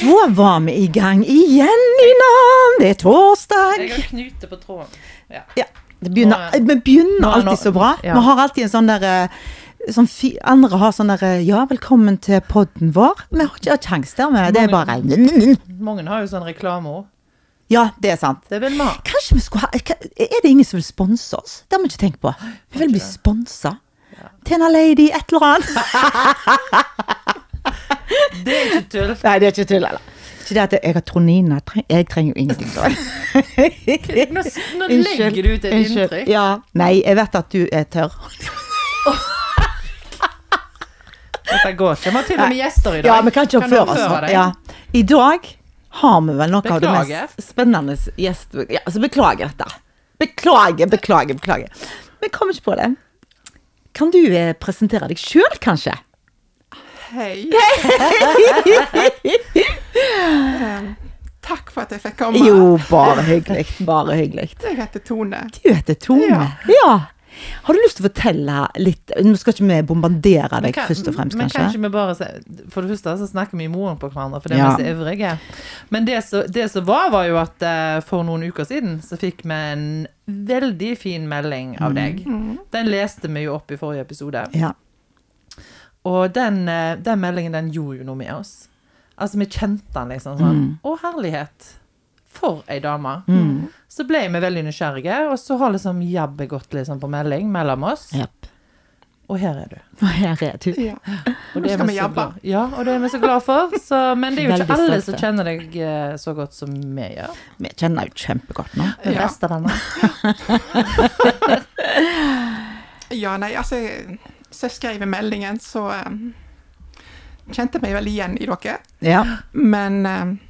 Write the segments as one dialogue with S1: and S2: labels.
S1: Da var vi i gang igjen, Nina. Det er torsdag.
S2: Jeg har knute på tråden. Ja.
S1: Ja, det begynner,
S2: Nå er-
S1: vi begynner
S2: nå er
S1: alltid
S2: nå-
S1: så bra.
S2: ja.
S1: Vi har alltid en sånn derre Sånn fi, andre har sånn derre Ja, velkommen til podden vår. Vi har ikke kjangs der, vi. Det er bare
S2: Mange har jo sånn reklame òg.
S1: Ja, det er sant.
S2: Det vil vi ha.
S1: Kanskje vi skulle ha eh, Er det ingen som vil sponse oss? Det har vi ikke tenkt på. Vi vil bli sponsa. Tena Lady, et eller annet.
S2: Det er ikke tull.
S1: Nei, det er ikke tull, eller? Ikke det at jeg har Tronina. treng- Jeg trenger jo ingenting. da.
S2: Nå, nå legger du ut et
S1: unnskyld.
S2: inntrykk.
S1: Ja. Nei, jeg vet at du er tørr.
S2: Dette går ikke. Vi har til og med gjester i dag.
S1: Ja, vi kan ikke
S2: du
S1: oppføre oss
S2: oppføre
S1: sånn.
S2: deg?
S1: Ja. I dag har vi vel noe av det
S2: Beklager.
S1: mest spennende gjest... Ja, altså, beklager dette. Beklager, beklager, beklager. Vi kom ikke på det. Kan du eh, presentere deg sjøl, kanskje?
S3: Hei. Em, Takk for at jeg fikk komme.
S1: Jo, bare hyggelig. Bare hyggelig.
S3: Jeg heter Tone.
S1: Du heter Tone. Ja.
S3: Ja.
S1: Har du lyst til å fortelle litt Nå skal ikke vi bombardere
S2: Men
S1: deg,
S2: kan-
S1: først og fremst,
S2: men
S1: kanskje?
S2: kanskje vi bare se- For det første så snakker vi i moren på hverandre, for det
S1: Ja.
S2: er vi så ivrige. Men det som det som var, var jo at eh, for noen uker siden så fikk vi en veldig fin melding
S1: Mm.
S2: av deg. Den leste vi jo opp i forrige episode.
S1: Ja.
S2: Og den, eh, den meldingen den gjorde jo noe med oss. Altså, vi kjente den liksom sånn.
S1: Mm.
S2: Å, herlighet. For ei dame. Så ble vi veldig nysgjerrige, og så har liksom jabbet gått liksom på melding mellom oss.
S1: Jepp.
S2: Og her er du.
S1: Og her er du.
S3: Ja.
S2: Og
S3: Nå
S2: er
S3: skal
S2: vi
S3: vi
S2: så
S3: jabbe.
S2: glad- Ja, og det er vi så glad for. Så, men det er jo ikke
S1: Veldig
S2: alle
S1: stolte.
S2: som kjenner deg eh, så godt som vi gjør.
S1: Vi kjenner jo kjempegodt nå.
S2: Vi er
S3: Ja.
S2: bestevenner.
S3: Ja, nei, altså jeg- Så jeg skrev i meldingen, så ehm, em, kjente jeg meg veldig igjen i dere.
S1: Ja.
S3: Men ehm, em,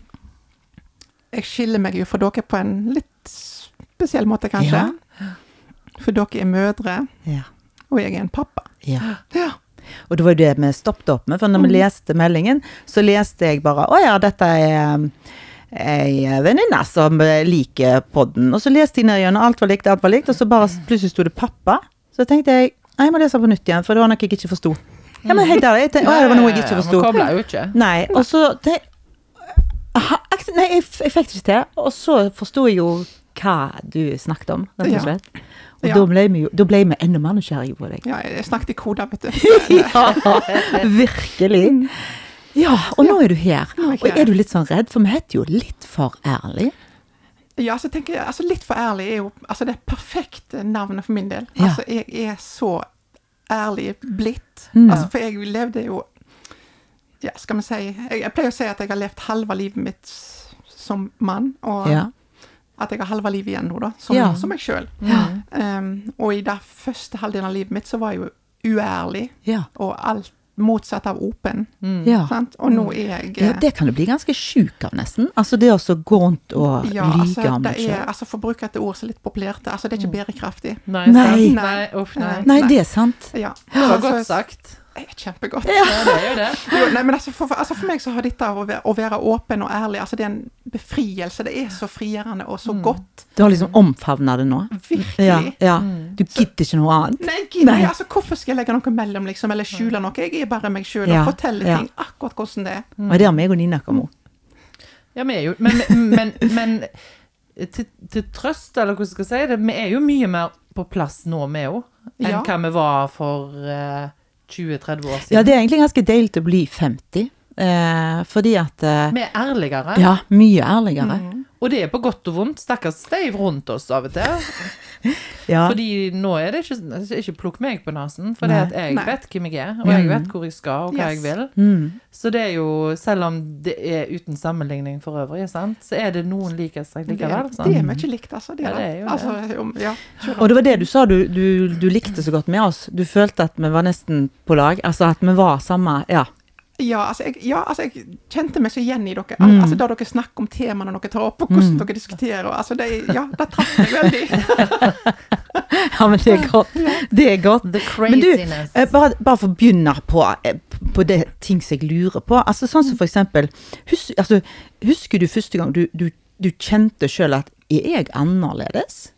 S3: jeg skiller meg jo fra dere på en litt spesiell måte,
S1: Ja.
S3: kanskje. For dere er mødre,
S1: ja.
S3: og jeg er en pappa.
S1: ja.
S3: Ja.
S1: Og det var jo det vi stoppet opp med, for når vi leste meldingen, så leste jeg bare Å ja, dette er um, ei venninne som eh, liker podden. Og så leste jeg ned gjennom, alt var likt, alt var likt, og så bare s- plutselig sto det pappa. Så tenkte jeg «Nei, jeg må lese på nytt igjen, for det var noe jeg ikke forsto. Ja, men helt ærlig, jeg tenkte, å, det var noe jeg ikke forsto.
S2: Vi kobler jo ikke.
S1: Nei, og så det, Aha, akse- Nei, jeg, f- jeg fikk det ikke til. Og så forsto jeg jo hva du snakket om, rett
S3: Ja.
S1: og slett. Og
S3: Ja.
S1: da ble vi jo da ble vi enda mer nysgjerrige på deg.
S3: ja, jeg snakket i koder, vet du.
S1: Ja, virkelig. Ja, og nå er du her.
S3: Nå er jeg
S1: Og
S3: her.
S1: er du litt sånn redd, for vi heter jo litt for ærlig.
S3: Ja, så tenker jeg, altså litt for ærlig er jo altså det perfekte navnet for min del.
S1: Ja.
S3: Altså jeg er så ærlig blitt.
S1: Mm.
S3: Altså, for jeg levde jo Ja, skal vi si jeg, jeg pleier å si at jeg har levd halve livet mitt s- som mann, og
S1: Ja.
S3: at jeg har halve livet igjen nå, da, som,
S1: Ja.
S3: som meg sjøl.
S1: Ja.
S3: og i den første halvdelen av livet mitt så var jeg jo uærlig,
S1: Ja.
S3: og alt motsatt av åpen.
S1: Mm. Ja.
S3: Sant? Og nå er jeg
S1: ja, det kan du bli ganske sjuk av, nesten. Altså det å så gå rundt og
S3: ja,
S1: lyge om
S3: det
S1: deg
S3: er,
S1: sjøl.
S3: altså for å bruke et ord som er litt populært, altså det er ikke bærekraftig.
S2: Nei.
S1: Mm. Nei.
S2: sant? Nei. Uff, nei.
S1: Nei, det er sant.
S3: Ja.
S2: Det var
S3: altså,
S2: godt sagt.
S3: eh, Kjempegodt.
S2: Ja, det er jo det.
S3: Jo, nei, men altså for, for- altså for meg så har dette å være, å være åpen og ærlig, altså det er en befrielse. Det er så frigjørende og så godt.
S1: Du har liksom omfavna det nå.
S3: Virkelig.
S1: Mm.
S3: Mm.
S1: Ja, ja. Du gidder ikke noe annet.
S3: Nei, gud, nei,
S1: Nei.
S3: altså hvorfor skal jeg legge noe mellom, liksom, eller skjule noe? Jeg er bare meg sjøl og
S1: Ja,
S3: forteller
S1: ja.
S3: ting akkurat hvordan det er.
S2: Mm.
S1: Og det har meg og Nina kommet òg.
S2: Ja, vi er jo Men, men, men til, til trøst, eller hvordan skal jeg si det, vi er jo mye mer på plass nå, vi òg, enn
S3: Ja.
S2: hva vi var for eh, 20-30 år siden.
S1: Ja, det er egentlig ganske deilig å bli 50, eh, fordi at eh,
S2: Vi er ærligere,
S1: Ja, mye ærligere.
S3: Mm.
S2: og det er på godt og vondt. Stakkars steiv rundt oss av og til.
S1: Ja.
S2: Fordi nå er det ikke, altså, ikke plukk meg på nesen, for det
S1: Nei.
S2: at jeg
S3: Nei.
S2: vet hvem jeg er, og jeg vet hvor jeg skal, og hva
S3: Yes.
S2: jeg vil.
S1: Mm.
S2: Så det er jo, selv om det er uten sammenligning for øvrig, sant, så er det noen likhetstrekk
S3: Det, er-
S2: likevel. sånn.
S3: det
S2: Sant?
S3: er mye likt, altså. Det,
S2: Ja,
S3: er
S2: det er jo det.
S3: altså, om, ja.
S1: Og det var det du sa du, du, du likte så godt med oss. Du følte at vi var nesten på lag. Altså at vi var samme Ja.
S3: Ja, altså jeg, ja, altså jeg kjente meg så igjen i dere.
S1: Mm.
S3: Al Altså Da dere snakker om temaene dere tar opp, og hvordan dere diskuterer. og Altså det, ja, det traff meg veldig.
S1: ja men det er godt. Det er godt.
S2: The
S1: Men du,
S2: craziness.
S1: eh, bare, bare for å begynne på, eh, på det ting som jeg lurer på. Altså Sånn som for eksempel hus, altså, Husker du første gang du, du, du kjente sjøl at Er jeg annerledes?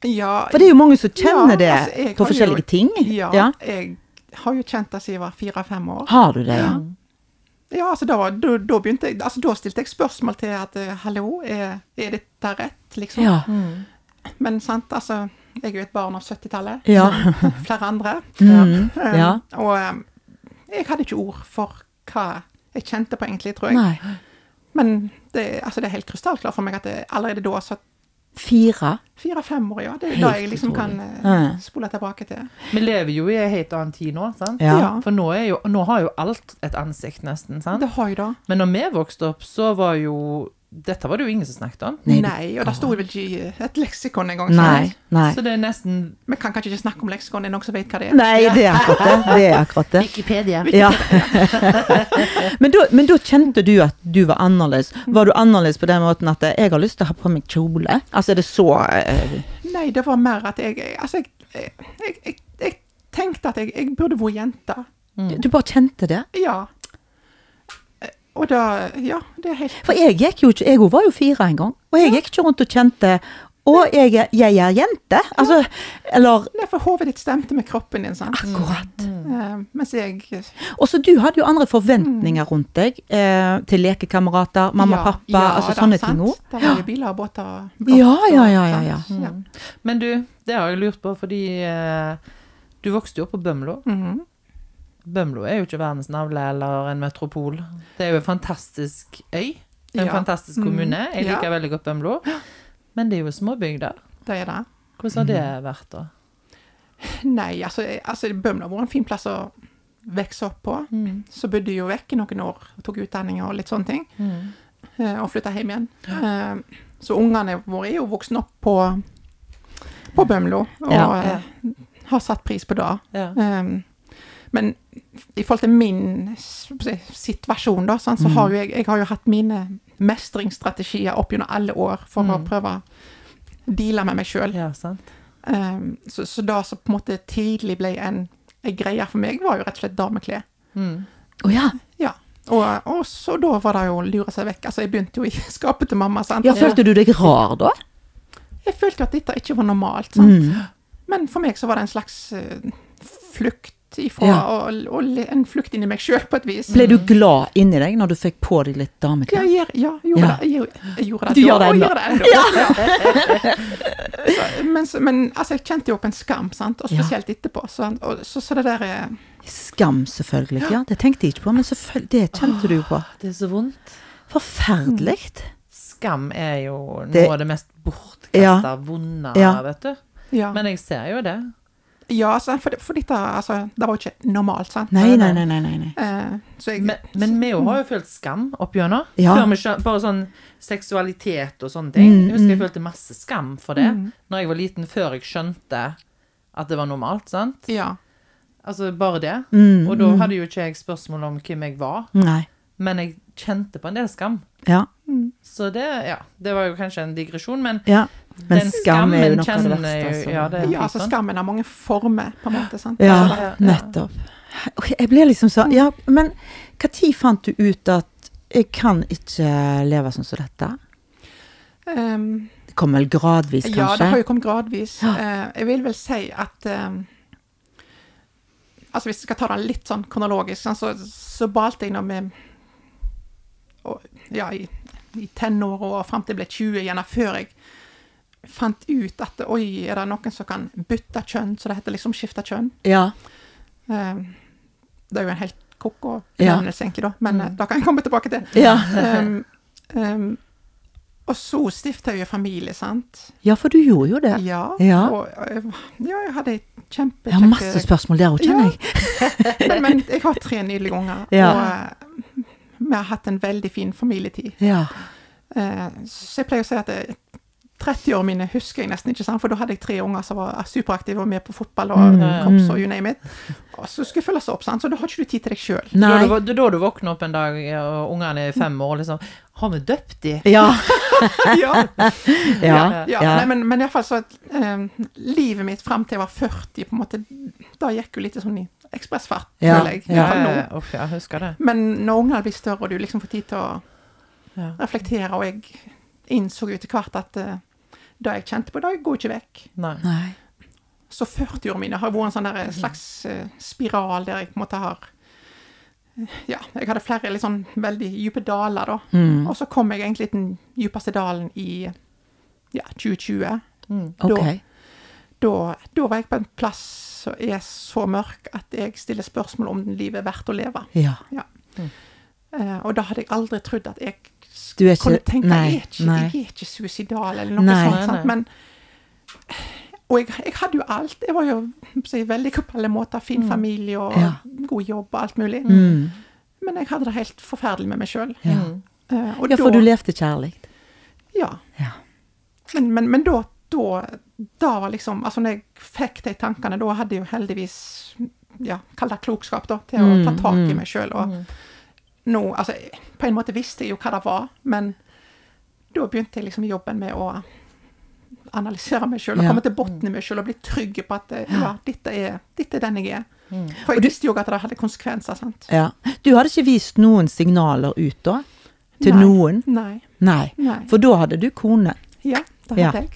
S3: Ja,
S1: For det er jo mange som kjenner
S3: Ja,
S1: det
S3: altså, jeg
S1: på
S3: har
S1: forskjellige
S3: jo-
S1: ting.
S3: Ja,
S1: Ja.
S3: jeg har jo kjent det siden jeg var fire-fem år.
S1: Har du det? Ja.
S3: Ja, altså da, da, da begynte jeg altså Da stilte jeg spørsmål til at eh, hallo, er, er dette rett, liksom?
S1: Ja.
S3: Men sant, altså Jeg er jo et barn av 70-tallet.
S1: Ja.
S3: som Flere andre.
S1: Mm.
S3: Um,
S1: ja.
S3: Og um, jeg hadde ikke ord for hva jeg kjente på, egentlig, tror jeg.
S1: Nei.
S3: Men det, altså, det er helt krystallklart for meg at det, allerede da så
S1: Fire.
S3: Fire-fem år, ja. Det er
S1: Helt
S3: da jeg liksom kan
S1: utrolig.
S3: eh,
S1: Ja.
S3: spole tilbake til.
S2: Vi lever jo i en helt annen tid nå, sant?
S1: Ja.
S3: Ja.
S2: For nå, er jo, nå har jo alt et ansikt, nesten. sant?
S3: Det har jeg da.
S2: Men når vi vokste opp, så var jo Dette var det jo ingen som snakket om.
S1: Nei,
S3: Nei,
S1: det-
S3: og det sto vel ikke i et leksikon engang.
S1: Nei. Nei.
S2: Så det er nesten
S3: Vi kan kanskje ikke snakke om leksikon, er det noen som vet hva det er?
S1: Nei, det er akkurat det. det, er akkurat det.
S2: Wikipedia.
S1: Ja. men, da, men da kjente du at du var annerledes. Var du annerledes på den måten at jeg har lyst til å ha på meg kjole? Altså, er det så eh,
S3: Nei, det var mer at jeg jeg- Altså, jeg, jeg, jeg, jeg, jeg tenkte at jeg, jeg burde vært jente. Mm.
S1: Du bare kjente det?
S3: Ja. Eh, Og da Ja, det er helt
S1: For jeg gikk jo ikke Jeg var jo fire en gang, og jeg gikk ikke rundt og kjente Å, jeg, er- jeg er jente. Altså, eller
S3: Nei, for hodet ditt stemte med kroppen din, sant.
S1: Akkurat.
S3: Eh, mens jeg
S1: Og så du hadde jo andre forventninger rundt deg eh, til lekekamerater, mamma,
S3: Mm. ja,
S1: pappa, altså
S3: da,
S1: sånne
S3: sant?
S1: ting òg.
S3: Da var det biler og båter og blomster,
S1: Ja, ja, ja, ja, ja.
S3: sant? ja.
S2: Men du, det har jeg lurt på, fordi eh, du vokste jo opp på Bømlo.
S3: Mhm.
S2: Bømlo er jo ikke verdens navle eller en metropol. Det er jo en fantastisk øy. En
S3: Ja.
S2: fantastisk kommune. Jeg
S3: Ja.
S2: liker veldig godt Bømlo. Men det er jo småbygder.
S3: Det er det.
S1: Mm.
S2: Hvordan har det vært, da?
S3: Nei, altså, jeg- altså Bømlo har vært en fin plass å vokse opp på.
S2: Mm.
S3: Så bodde jeg jo vekk i noen år og tok utdanning og litt sånne ting.
S2: Mm.
S3: eh, Og flytta hjem igjen. Eh, Så ungene våre er jo vokst opp på, på Bømlo, og
S1: Ja,
S2: ja.
S3: eh, har satt pris på det.
S2: Ja.
S3: Eh, Men i forhold til min s- si- situasjon, da, sant, så har jo jeg, jeg har jo hatt mine mestringsstrategier opp gjennom alle år for å prøve å deale med meg sjøl.
S2: ja, sant?
S3: Um, så, så det som på en måte tidlig ble en, en greie for meg, var jo rett og slett dameklær.
S2: Mm.
S1: Å ja.
S3: Ja. Og, og så da var det jo å lure seg vekk. Altså, jeg begynte jo i skapet til mamma, sant.
S1: ja. Følte du deg rar da?
S3: Jeg følte jo at dette ikke var normalt,
S1: Mm.
S3: sant. Men for meg så var det en slags eh, flukt ifra,
S1: Ja.
S3: og, og le- en flukt inn i meg sjøl, på et vis.
S1: Ble du glad inni deg når du fikk på deg litt
S3: Ja,
S1: dameklær?
S3: jeg, gjør- ja, jeg gjorde
S1: Ja.
S3: det. Jeg, gjorde- jeg gjorde det
S1: Du
S3: da,
S1: gjør det
S3: og
S1: ennå.
S3: jeg gjør det ennå. Ja. så, men, så- men altså, jeg kjente jo på en skam, sant, og
S1: Ja.
S3: spesielt etterpå. Så, og, så, så det der eh, er
S1: Skam, selvfølgelig. Ja, det tenkte jeg ikke på, men selvfølgelig, det kjente du jo på.
S2: Det er så vondt.
S1: Forferdelig.
S2: Skam er jo noe
S1: Det-
S2: av det mest bortkasta,
S1: Ja.
S2: vonde,
S1: Ja.
S2: vet du.
S3: ja.
S2: Men jeg ser jo det.
S3: Ja, altså, for, for dette altså, det var jo ikke normalt, sant?
S1: Nei, nei, nei, nei. nei, nei.
S3: Eh, så jeg,
S2: Men, men vi jo har jo følt skam opp gjennom.
S1: Ja. Mm,
S2: Før vi skjøn- Bare sånn seksualitet og sånne ting. Jeg husker jeg følte masse skam for det Når jeg var liten, før jeg skjønte at det var normalt. sant?
S3: ja.
S2: Altså bare det. Og da hadde jo ikke jeg spørsmål om hvem jeg var,
S1: Mm. nei.
S2: men jeg kjente på en del skam.
S1: Ja.
S2: Så det, ja, det var jo kanskje en digresjon, men
S1: ja. Men
S2: den
S1: skam er jo
S2: skammen
S1: noe av det
S2: kjenner
S1: verste.
S2: jeg jo-
S1: Altså.
S2: ja, det-
S3: ja, altså skammen har mange former, på en måte, sant? Altså,
S1: Ja,
S3: det-
S2: ja.
S1: nettopp. Ok, Jeg ble liksom sånn Ja, men når fant du ut at jeg kan ikke leve sånn som dette?
S3: ehm,
S1: Det kom vel gradvis,
S3: ja, det har
S1: kanskje?
S3: jo kommet gradvis. Eh, jeg vil vel si at ehm, Altså, hvis jeg skal ta det litt sånn kronologisk, sant, så, så balte jeg nå med og, Ja, i, i tenåra og fram til jeg ble 20, gjerne før jeg fant ut at oi, er det noen som kan bytte kjønn, så det heter liksom skifte kjønn?
S1: Ja.
S3: Eh, Det er jo en helt koko
S1: Ja. Mm.
S3: benevnelse, egentlig, da, men eh, det kan jeg komme tilbake til.
S1: Ja.
S3: Ehm, ehm, og så stifta jeg jo familie, sant?
S1: ja, for du gjorde jo det.
S3: Ja.
S1: Ja.
S3: Og, og, ja, jeg hadde
S1: Jeg har masse
S3: kjempekjekke
S1: spørsmål der òg, kjenner jeg.
S3: men, men jeg har tre nydelige unger,
S1: Ja.
S3: og eh, vi har hatt en veldig fin familietid.
S1: Ja.
S3: Eh, så jeg pleier å si at eh, 30-årene mine husker jeg nesten ikke, sant? for da hadde jeg tre unger som var superaktive og med på fotball og
S1: Mm.
S3: eh,
S2: ja.
S3: korps og you name it. Og så skulle jeg følges opp, sant? så da har ikke du tid til deg sjøl.
S2: Da du,
S1: Nei.
S2: det er da du våkner opp en dag, og ungene er fem år, liksom Har vi døpt de?
S1: Ja.
S3: ja.
S1: Ja.
S2: Ja.
S3: Ja,
S1: Ja.
S3: Nei, men, men iallfall så at eh, livet mitt fram til jeg var 40, på en måte, da gikk jo litt sånn i ekspressfart,
S1: Ja,
S3: føler jeg.
S1: ja,
S3: I hvert fall nå.
S2: Uff, ja, jeg husker det.
S3: Men når ungene blir større, og du liksom får tid til å
S2: Ja.
S3: reflektere, og jeg innså jo etter hvert at eh, det jeg kjente på, det går ikke vekk.
S2: Nei.
S1: Nei.
S3: eh, Så 40-årene mine har vært en sånn der slags eh, spiral der jeg på en måte har ja, jeg hadde flere litt sånn veldig dype daler, da.
S1: Mm.
S3: Og så kom jeg egentlig til den dypeste dalen i ja, 2020.
S2: Mm.
S3: Da,
S1: Ok.
S3: da, da var jeg på en plass som er så mørk at jeg stiller spørsmål om livet er verdt å leve.
S1: Ja.
S3: Ja. Eh, og da hadde jeg aldri trodd at jeg sk-
S1: Du er ikke-
S3: kunne tenke
S1: nei,
S3: jeg, er ikke,
S1: nei.
S3: jeg er ikke suicidal eller noe
S1: Nei.
S3: sånt.
S2: Nei,
S3: Sant? Men, og jeg, jeg hadde jo alt. Jeg var jo så, veldig på alle måter fin familie og
S1: Mm. Ja.
S3: god jobb og alt mulig.
S1: Mm.
S3: Men jeg hadde det helt forferdelig med meg sjøl.
S1: Ja.
S2: Mm.
S3: og
S1: ja, for du
S3: da,
S1: levde kjærlig.
S3: ja,
S1: Ja.
S3: men, men, men da, da, da var liksom Altså, når jeg fikk de tankene, da hadde jeg jo heldigvis ja, Kall det klokskap, da, til å
S1: Mm,
S3: ta tak i meg sjøl. Og nå Altså, på en måte visste jeg jo hva det var, men da begynte jeg liksom jobben med å analysere meg sjøl og
S1: Ja. Mm.
S3: komme til bunnen i meg sjøl og bli trygg på at eh, ja, dette er, dette er den jeg er. For
S1: Og
S3: jeg
S1: Mm. du-
S3: visste jo at det hadde konsekvenser, sant.
S1: Ja. Du hadde ikke vist noen signaler ut da? Til
S3: Nei.
S1: noen?
S3: Nei.
S1: Nei.
S3: Nei.
S1: For da hadde du kone.
S3: Ja, det
S1: Ja.
S3: hadde jeg.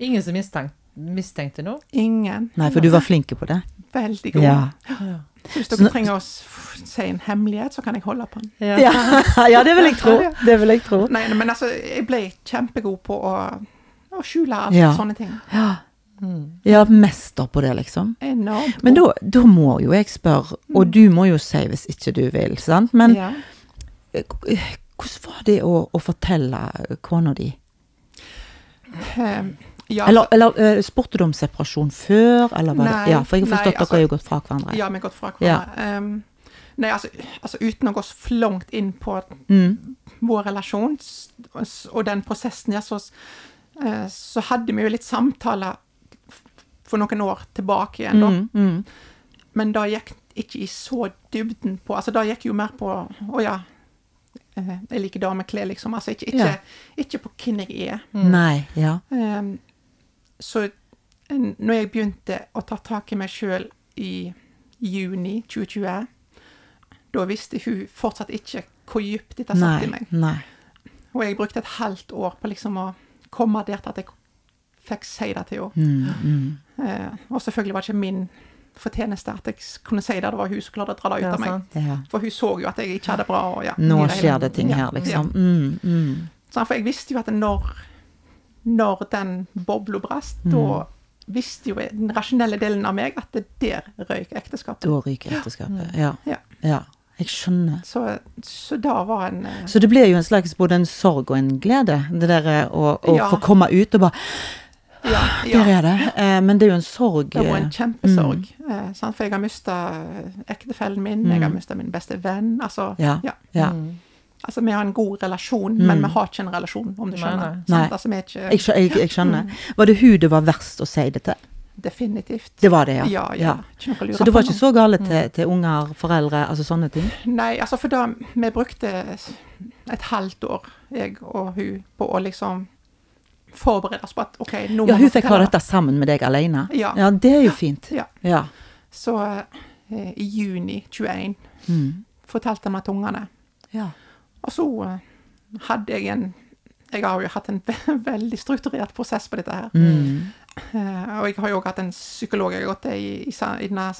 S2: Ingen som mistenkte, mistenkte noe?
S3: Ingen.
S1: Nei, for du var flink på det.
S3: Veldig god.
S1: Ja.
S3: Hvis
S1: Så
S3: dere
S1: nå-
S3: trenger å s- f- si en hemmelighet, så kan jeg holde på den.
S2: Ja.
S1: Ja. ja, det vil jeg tro. Det vil jeg tro.
S3: Nei, nei, men altså, jeg ble kjempegod på å, å skjule alt
S1: Ja.
S3: sånne ting.
S1: Ja.
S3: Mm.
S1: ja, mester på det, liksom.
S3: Enormt.
S1: Men da, da må jo jeg spørre, og du må jo si hvis ikke du vil, sant? Men
S3: Mm. ja.
S1: eh, hvordan var det å, å fortelle kona di?
S3: Ehm, ja,
S1: Eller, eller eh, spurte du om separasjon før, eller var
S3: Nei,
S1: det Ja, for jeg har
S3: nei,
S1: forstått
S3: altså-
S1: dere har jo gått fra hverandre.
S3: Ja, vi har gått fra hverandre. Ehm, nei, altså, altså uten å gå så langt inn på
S1: Mm,
S3: vår relasjon s- s- og den prosessen, ja, så, s- eh, så hadde vi jo litt samtaler f- for noen år tilbake igjen, da.
S1: mm,
S3: Men da gikk ikke i så dybden på Altså, da gikk jo mer på Å ja, eh, jeg liker dameklær, liksom. Altså ikke, ikke,
S1: Ja.
S3: ikke på hvem jeg er.
S1: Nei, ja.
S3: Ehm, så en- når jeg begynte å ta tak i meg sjøl i juni 2020, da visste hun fortsatt ikke hvor dypt dette satt i
S1: Nei.
S3: meg.
S1: nei.
S3: Og jeg brukte et halvt år på liksom å komme der til at jeg fikk si det til henne.
S1: mm,
S3: Eh, og selvfølgelig var det ikke min fortjeneste at jeg s- kunne si det, det var hun som klarte å dra det ut
S2: Ja,
S3: av meg.
S2: sant.
S1: Ja.
S3: For hun så jo at jeg ikke hadde det bra. Og ja,
S1: Nå
S3: i hele-
S1: skjer det ting
S3: Ja,
S1: her,
S3: ja.
S1: liksom. Mm, mm.
S3: Sånn, for jeg visste jo at når, når den bobla brast,
S1: Mm.
S3: da visste jo den rasjonelle delen av meg at det der røyk ekteskapet.
S1: Da ryker ekteskapet. Ja.
S3: Ja.
S1: ja. Jeg skjønner.
S3: Så, så da var en eh,
S1: Så det blir jo en slags både en sorg og en glede, det der eh, å, å
S3: Ja.
S1: få komme ut og bare
S3: Ja,
S1: Der
S3: ja
S1: er det! Eh, Men det er jo en sorg.
S3: det var
S1: eh,
S3: en kjempesorg. Eh, sant? For jeg har mista ektefellen min, jeg har mista min beste venn. Altså,
S1: Mm. Ja.
S3: ja.
S1: ja.
S2: Mm,
S3: altså, vi har en god relasjon, men vi har ikke en relasjon, om
S2: Nei,
S3: du skjønner.
S2: nei.
S1: Nei.
S3: Sant? Altså, vi er ikke
S1: Jeg, skjø- jeg, jeg skjønner.
S3: Mm.
S1: Var det hun det var verst å si det til?
S3: definitivt
S1: Det var det, ja.
S3: Ja, ja. Ikke noe å lure
S1: Så det var
S3: på nå.
S1: ikke så gale til, til unger, foreldre, altså sånne ting?
S3: Nei, altså for da vi brukte et halvt år, jeg og hun, på å liksom forberede oss på at OK, nå må
S1: Ja,
S3: vi
S1: hun fikk ha
S3: fortelle det.
S1: dette sammen med deg alene?
S3: Ja.
S1: Ja, det er jo fint.
S3: Ja.
S1: Ja.
S3: Så eh, i juni 21
S1: Mm.
S3: fortalte jeg meg til ungene.
S1: Ja.
S3: Og så eh, hadde jeg en Jeg har jo hatt en ve veldig strukturert prosess på dette her.
S1: Mm.
S3: Eh, og jeg har jo også hatt en psykolog jeg har gått til i, i, sa- i denne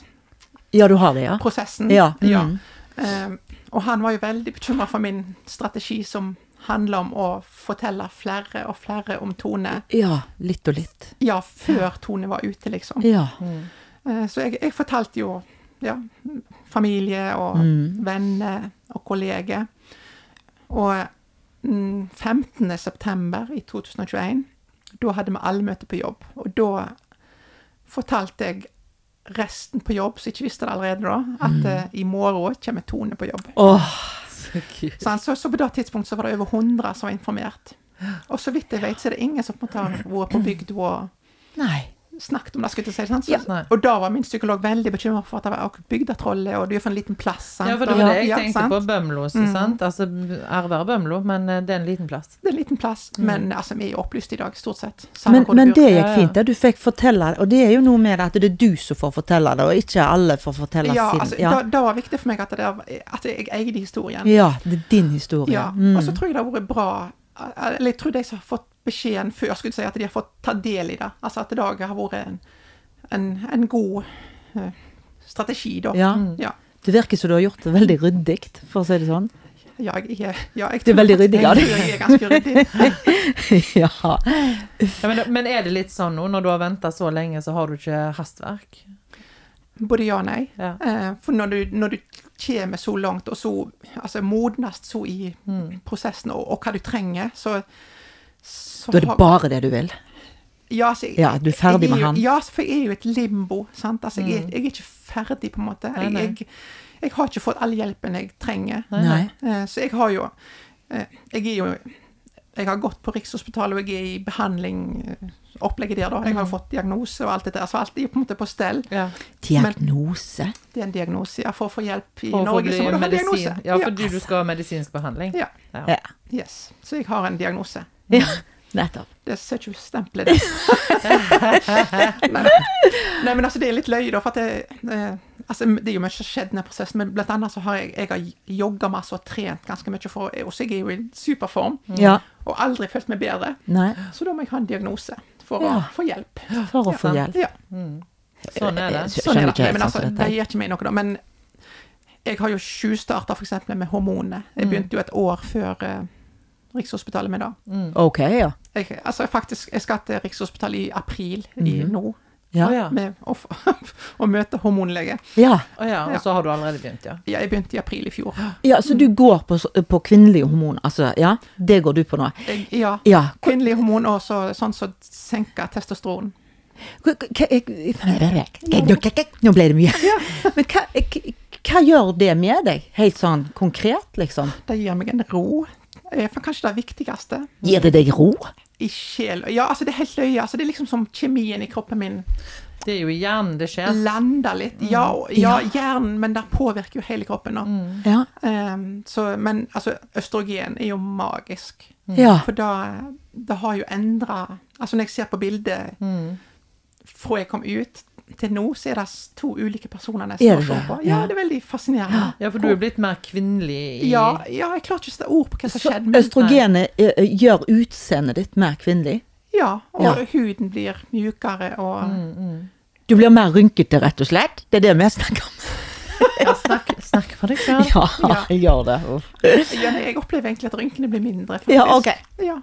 S1: ja, du har det, ja?
S3: prosessen.
S1: Ja, mm.
S3: Eh, og han var jo veldig bekymra for min strategi som handler om å fortelle flere og flere om Tone.
S1: Ja, litt og litt.
S3: Ja, før Tone var ute, liksom.
S1: Ja.
S2: mm.
S3: Eh, så jeg, jeg fortalte jo ja, familie og
S1: Mm.
S3: venner og kolleger. Og mm, 15. september i 2021, da hadde vi allmøte på jobb. Og da fortalte jeg resten på jobb, som ikke visste det allerede da, at eh, i morgen kommer Tone på jobb.
S1: Åh,
S2: Så kult.
S3: Sant? Så, så på det tidspunktet så var det over 100 som var informert. Og så vidt jeg vet, så er det ingen som på en måte har vært på bygda og
S1: nei.
S3: snakket om det. skulle jeg til å si, sant? Så,
S2: Ja. Nei.
S3: Og da var min psykolog veldig bekymra for at det var også bygdetrollet, og det er jo for en liten plass. Sant?
S2: Ja, for det var det jeg
S3: Ja,
S2: tenkte
S3: sant? Mm.
S2: på. Bømlo, så sant. Altså, ære være Bømlo, men eh, det er en liten plass.
S3: Det er en liten plass, men altså, vi er jo opplyst i dag, stort sett. Samme
S1: Mm. Men,
S3: hvor du
S1: men
S3: bor.
S1: det
S2: Ja,
S1: gikk
S2: ja.
S1: fint, det. Du fikk fortelle det. Og det er jo noe med det at det er du som får fortelle det, og ikke alle får fortelle
S3: ja,
S1: sin.
S3: altså,
S1: ja.
S3: Da, da var det viktig for meg at, det, at jeg eide historien.
S1: ja, det er Mm. din historie.
S3: Ja, og så tror jeg det har vært bra Eller jeg tror de som har fått beskjeden før, skulle jeg si, at de har fått ta del i det. Altså at det da har vært en, en, en god eh, strategi, da.
S1: Ja.
S3: ja.
S1: Det virker som du har gjort det veldig ryddig, for å si det sånn.
S3: Jeg, jeg, ja, jeg
S1: Du er veldig
S3: tror-
S1: ryddig, ja, du.
S3: Jeg, tror jeg er ganske ryddig.
S1: ja.
S2: Ja, men, men er det litt sånn nå, når du har venta så lenge, så har du ikke hastverk?
S3: Både ja og nei.
S2: Ja.
S3: Eh, For når du, når du kommer så langt, og så altså, modnes så i
S1: Mm.
S3: prosessen, og, og hva du trenger, så, så
S1: Da er det
S3: har-
S1: bare det du vil.
S3: ja, altså, jeg-
S1: Ja, du er ferdig
S3: jeg
S1: med
S3: jo-
S1: han. Mm.
S3: Ja, altså, for jeg er jo et limbo. sant? Altså, jeg, jeg er ikke ferdig, på en måte. Jeg,
S2: nei.
S3: jeg, jeg har ikke fått all hjelpen jeg trenger.
S1: Nei.
S3: Eh, Så jeg har jo eh, Jeg er jo Jeg har gått på Rikshospitalet, og jeg er i behandling, eh, opplegget der, da. Jeg
S1: Mm.
S3: har fått diagnose og alt det der. Så alt er på en måte på stell.
S2: Ja.
S1: Diagnose.
S3: Det er en diagnose. Ja, for å få hjelp i
S2: For å få
S3: Norge,
S2: bli
S3: så må du ha
S2: medisin.
S3: diagnose.
S2: Ja, fordi du skal ha medisinsk behandling.
S3: ja.
S1: Ja.
S3: Yes. Så jeg har en diagnose.
S1: ja. Nettopp.
S3: Det ser ikke ut som stempelet, det. Nei, Nei, men altså, det er litt løye, da. For at det, eh, altså, det er jo mye som har skjedd i den prosessen. Men blant annet så har jeg, jeg har jogga masse og trent ganske mye, for og så er jeg jo i superform.
S2: Mm.
S1: Ja.
S3: Og aldri følt meg bedre.
S1: Nei.
S3: Så da må jeg ha en diagnose for å
S1: Ja.
S3: få hjelp.
S1: For å få hjelp.
S3: Ja,
S2: Sånn er det.
S1: Jeg
S3: sånn er
S1: skjønner ikke
S3: det. Nei,
S1: helt
S3: men
S1: sånn
S3: altså,
S1: som
S3: det
S1: dette.
S3: gjør ikke meg noe, da. Men jeg har jo tjuvstarta f.eks. med hormonene.
S1: Mm.
S3: Jeg begynte jo et år før eh, Rikshospitalet med det.
S1: Mm. Ok, ja.
S3: Jeg, altså faktisk, jeg skal til Rikshospitalet i april i nå.
S1: Mhm. Ja.
S2: Å ja.
S3: med å, f- å møte hormonlege.
S1: ja.
S2: Å ja. Og så har du allerede begynt, ja.
S3: Ja, jeg begynte i april i fjor.
S1: Ja, så du går på, s- på kvinnelige hormoner, altså. Ja, det går du på nå.
S3: Jeg, ja.
S1: Ja. Hvor-
S3: Kvinnelige hormon og så- sånn som senker testosteron.
S1: hvor- hva- jeg- Nå nå ble det mye. Men hva, hva- hva gjør det med deg, helt sånn konkret, liksom?
S3: Det gir meg en ro. Eh, For kanskje det viktigste
S1: Gir det deg ro?
S3: i sjel Ja, altså det er helt løye. Altså, det er liksom som kjemien i kroppen min
S2: Det er jo i hjernen det
S1: Mm.
S2: skjer.
S3: lander litt. Ja, og- ja hjernen, men det påvirker jo hele kroppen. nå.
S1: Ja.
S3: Eh, så, men altså, østrogen er jo magisk.
S1: Ja.
S3: For da, det har jo endra Altså når jeg ser på bildet fra jeg kom ut til nå, så er det s- to ulike personer nesten
S1: Er
S3: å
S1: det
S3: se
S1: det?
S3: på. Ja,
S1: Ja.
S3: det er veldig fascinerende.
S2: Ja, for du er blitt mer kvinnelig i
S3: Ja, ja, jeg klarer ikke å sette ord på hva som
S1: Så
S3: skjedde, men
S1: østrogenet ø, ø, gjør utseendet ditt mer kvinnelig?
S3: ja, og
S1: Ja.
S3: huden blir mjukere og
S1: Du blir mer rynkete, rett og slett? Det er det vi snakker om?
S2: Ja, snakk, snakk for deg sjøl.
S1: Ja, gjør det. Uff.
S3: ja, nei, Jeg opplever egentlig at rynkene blir mindre, faktisk.
S1: Ja, ok.
S3: Ja,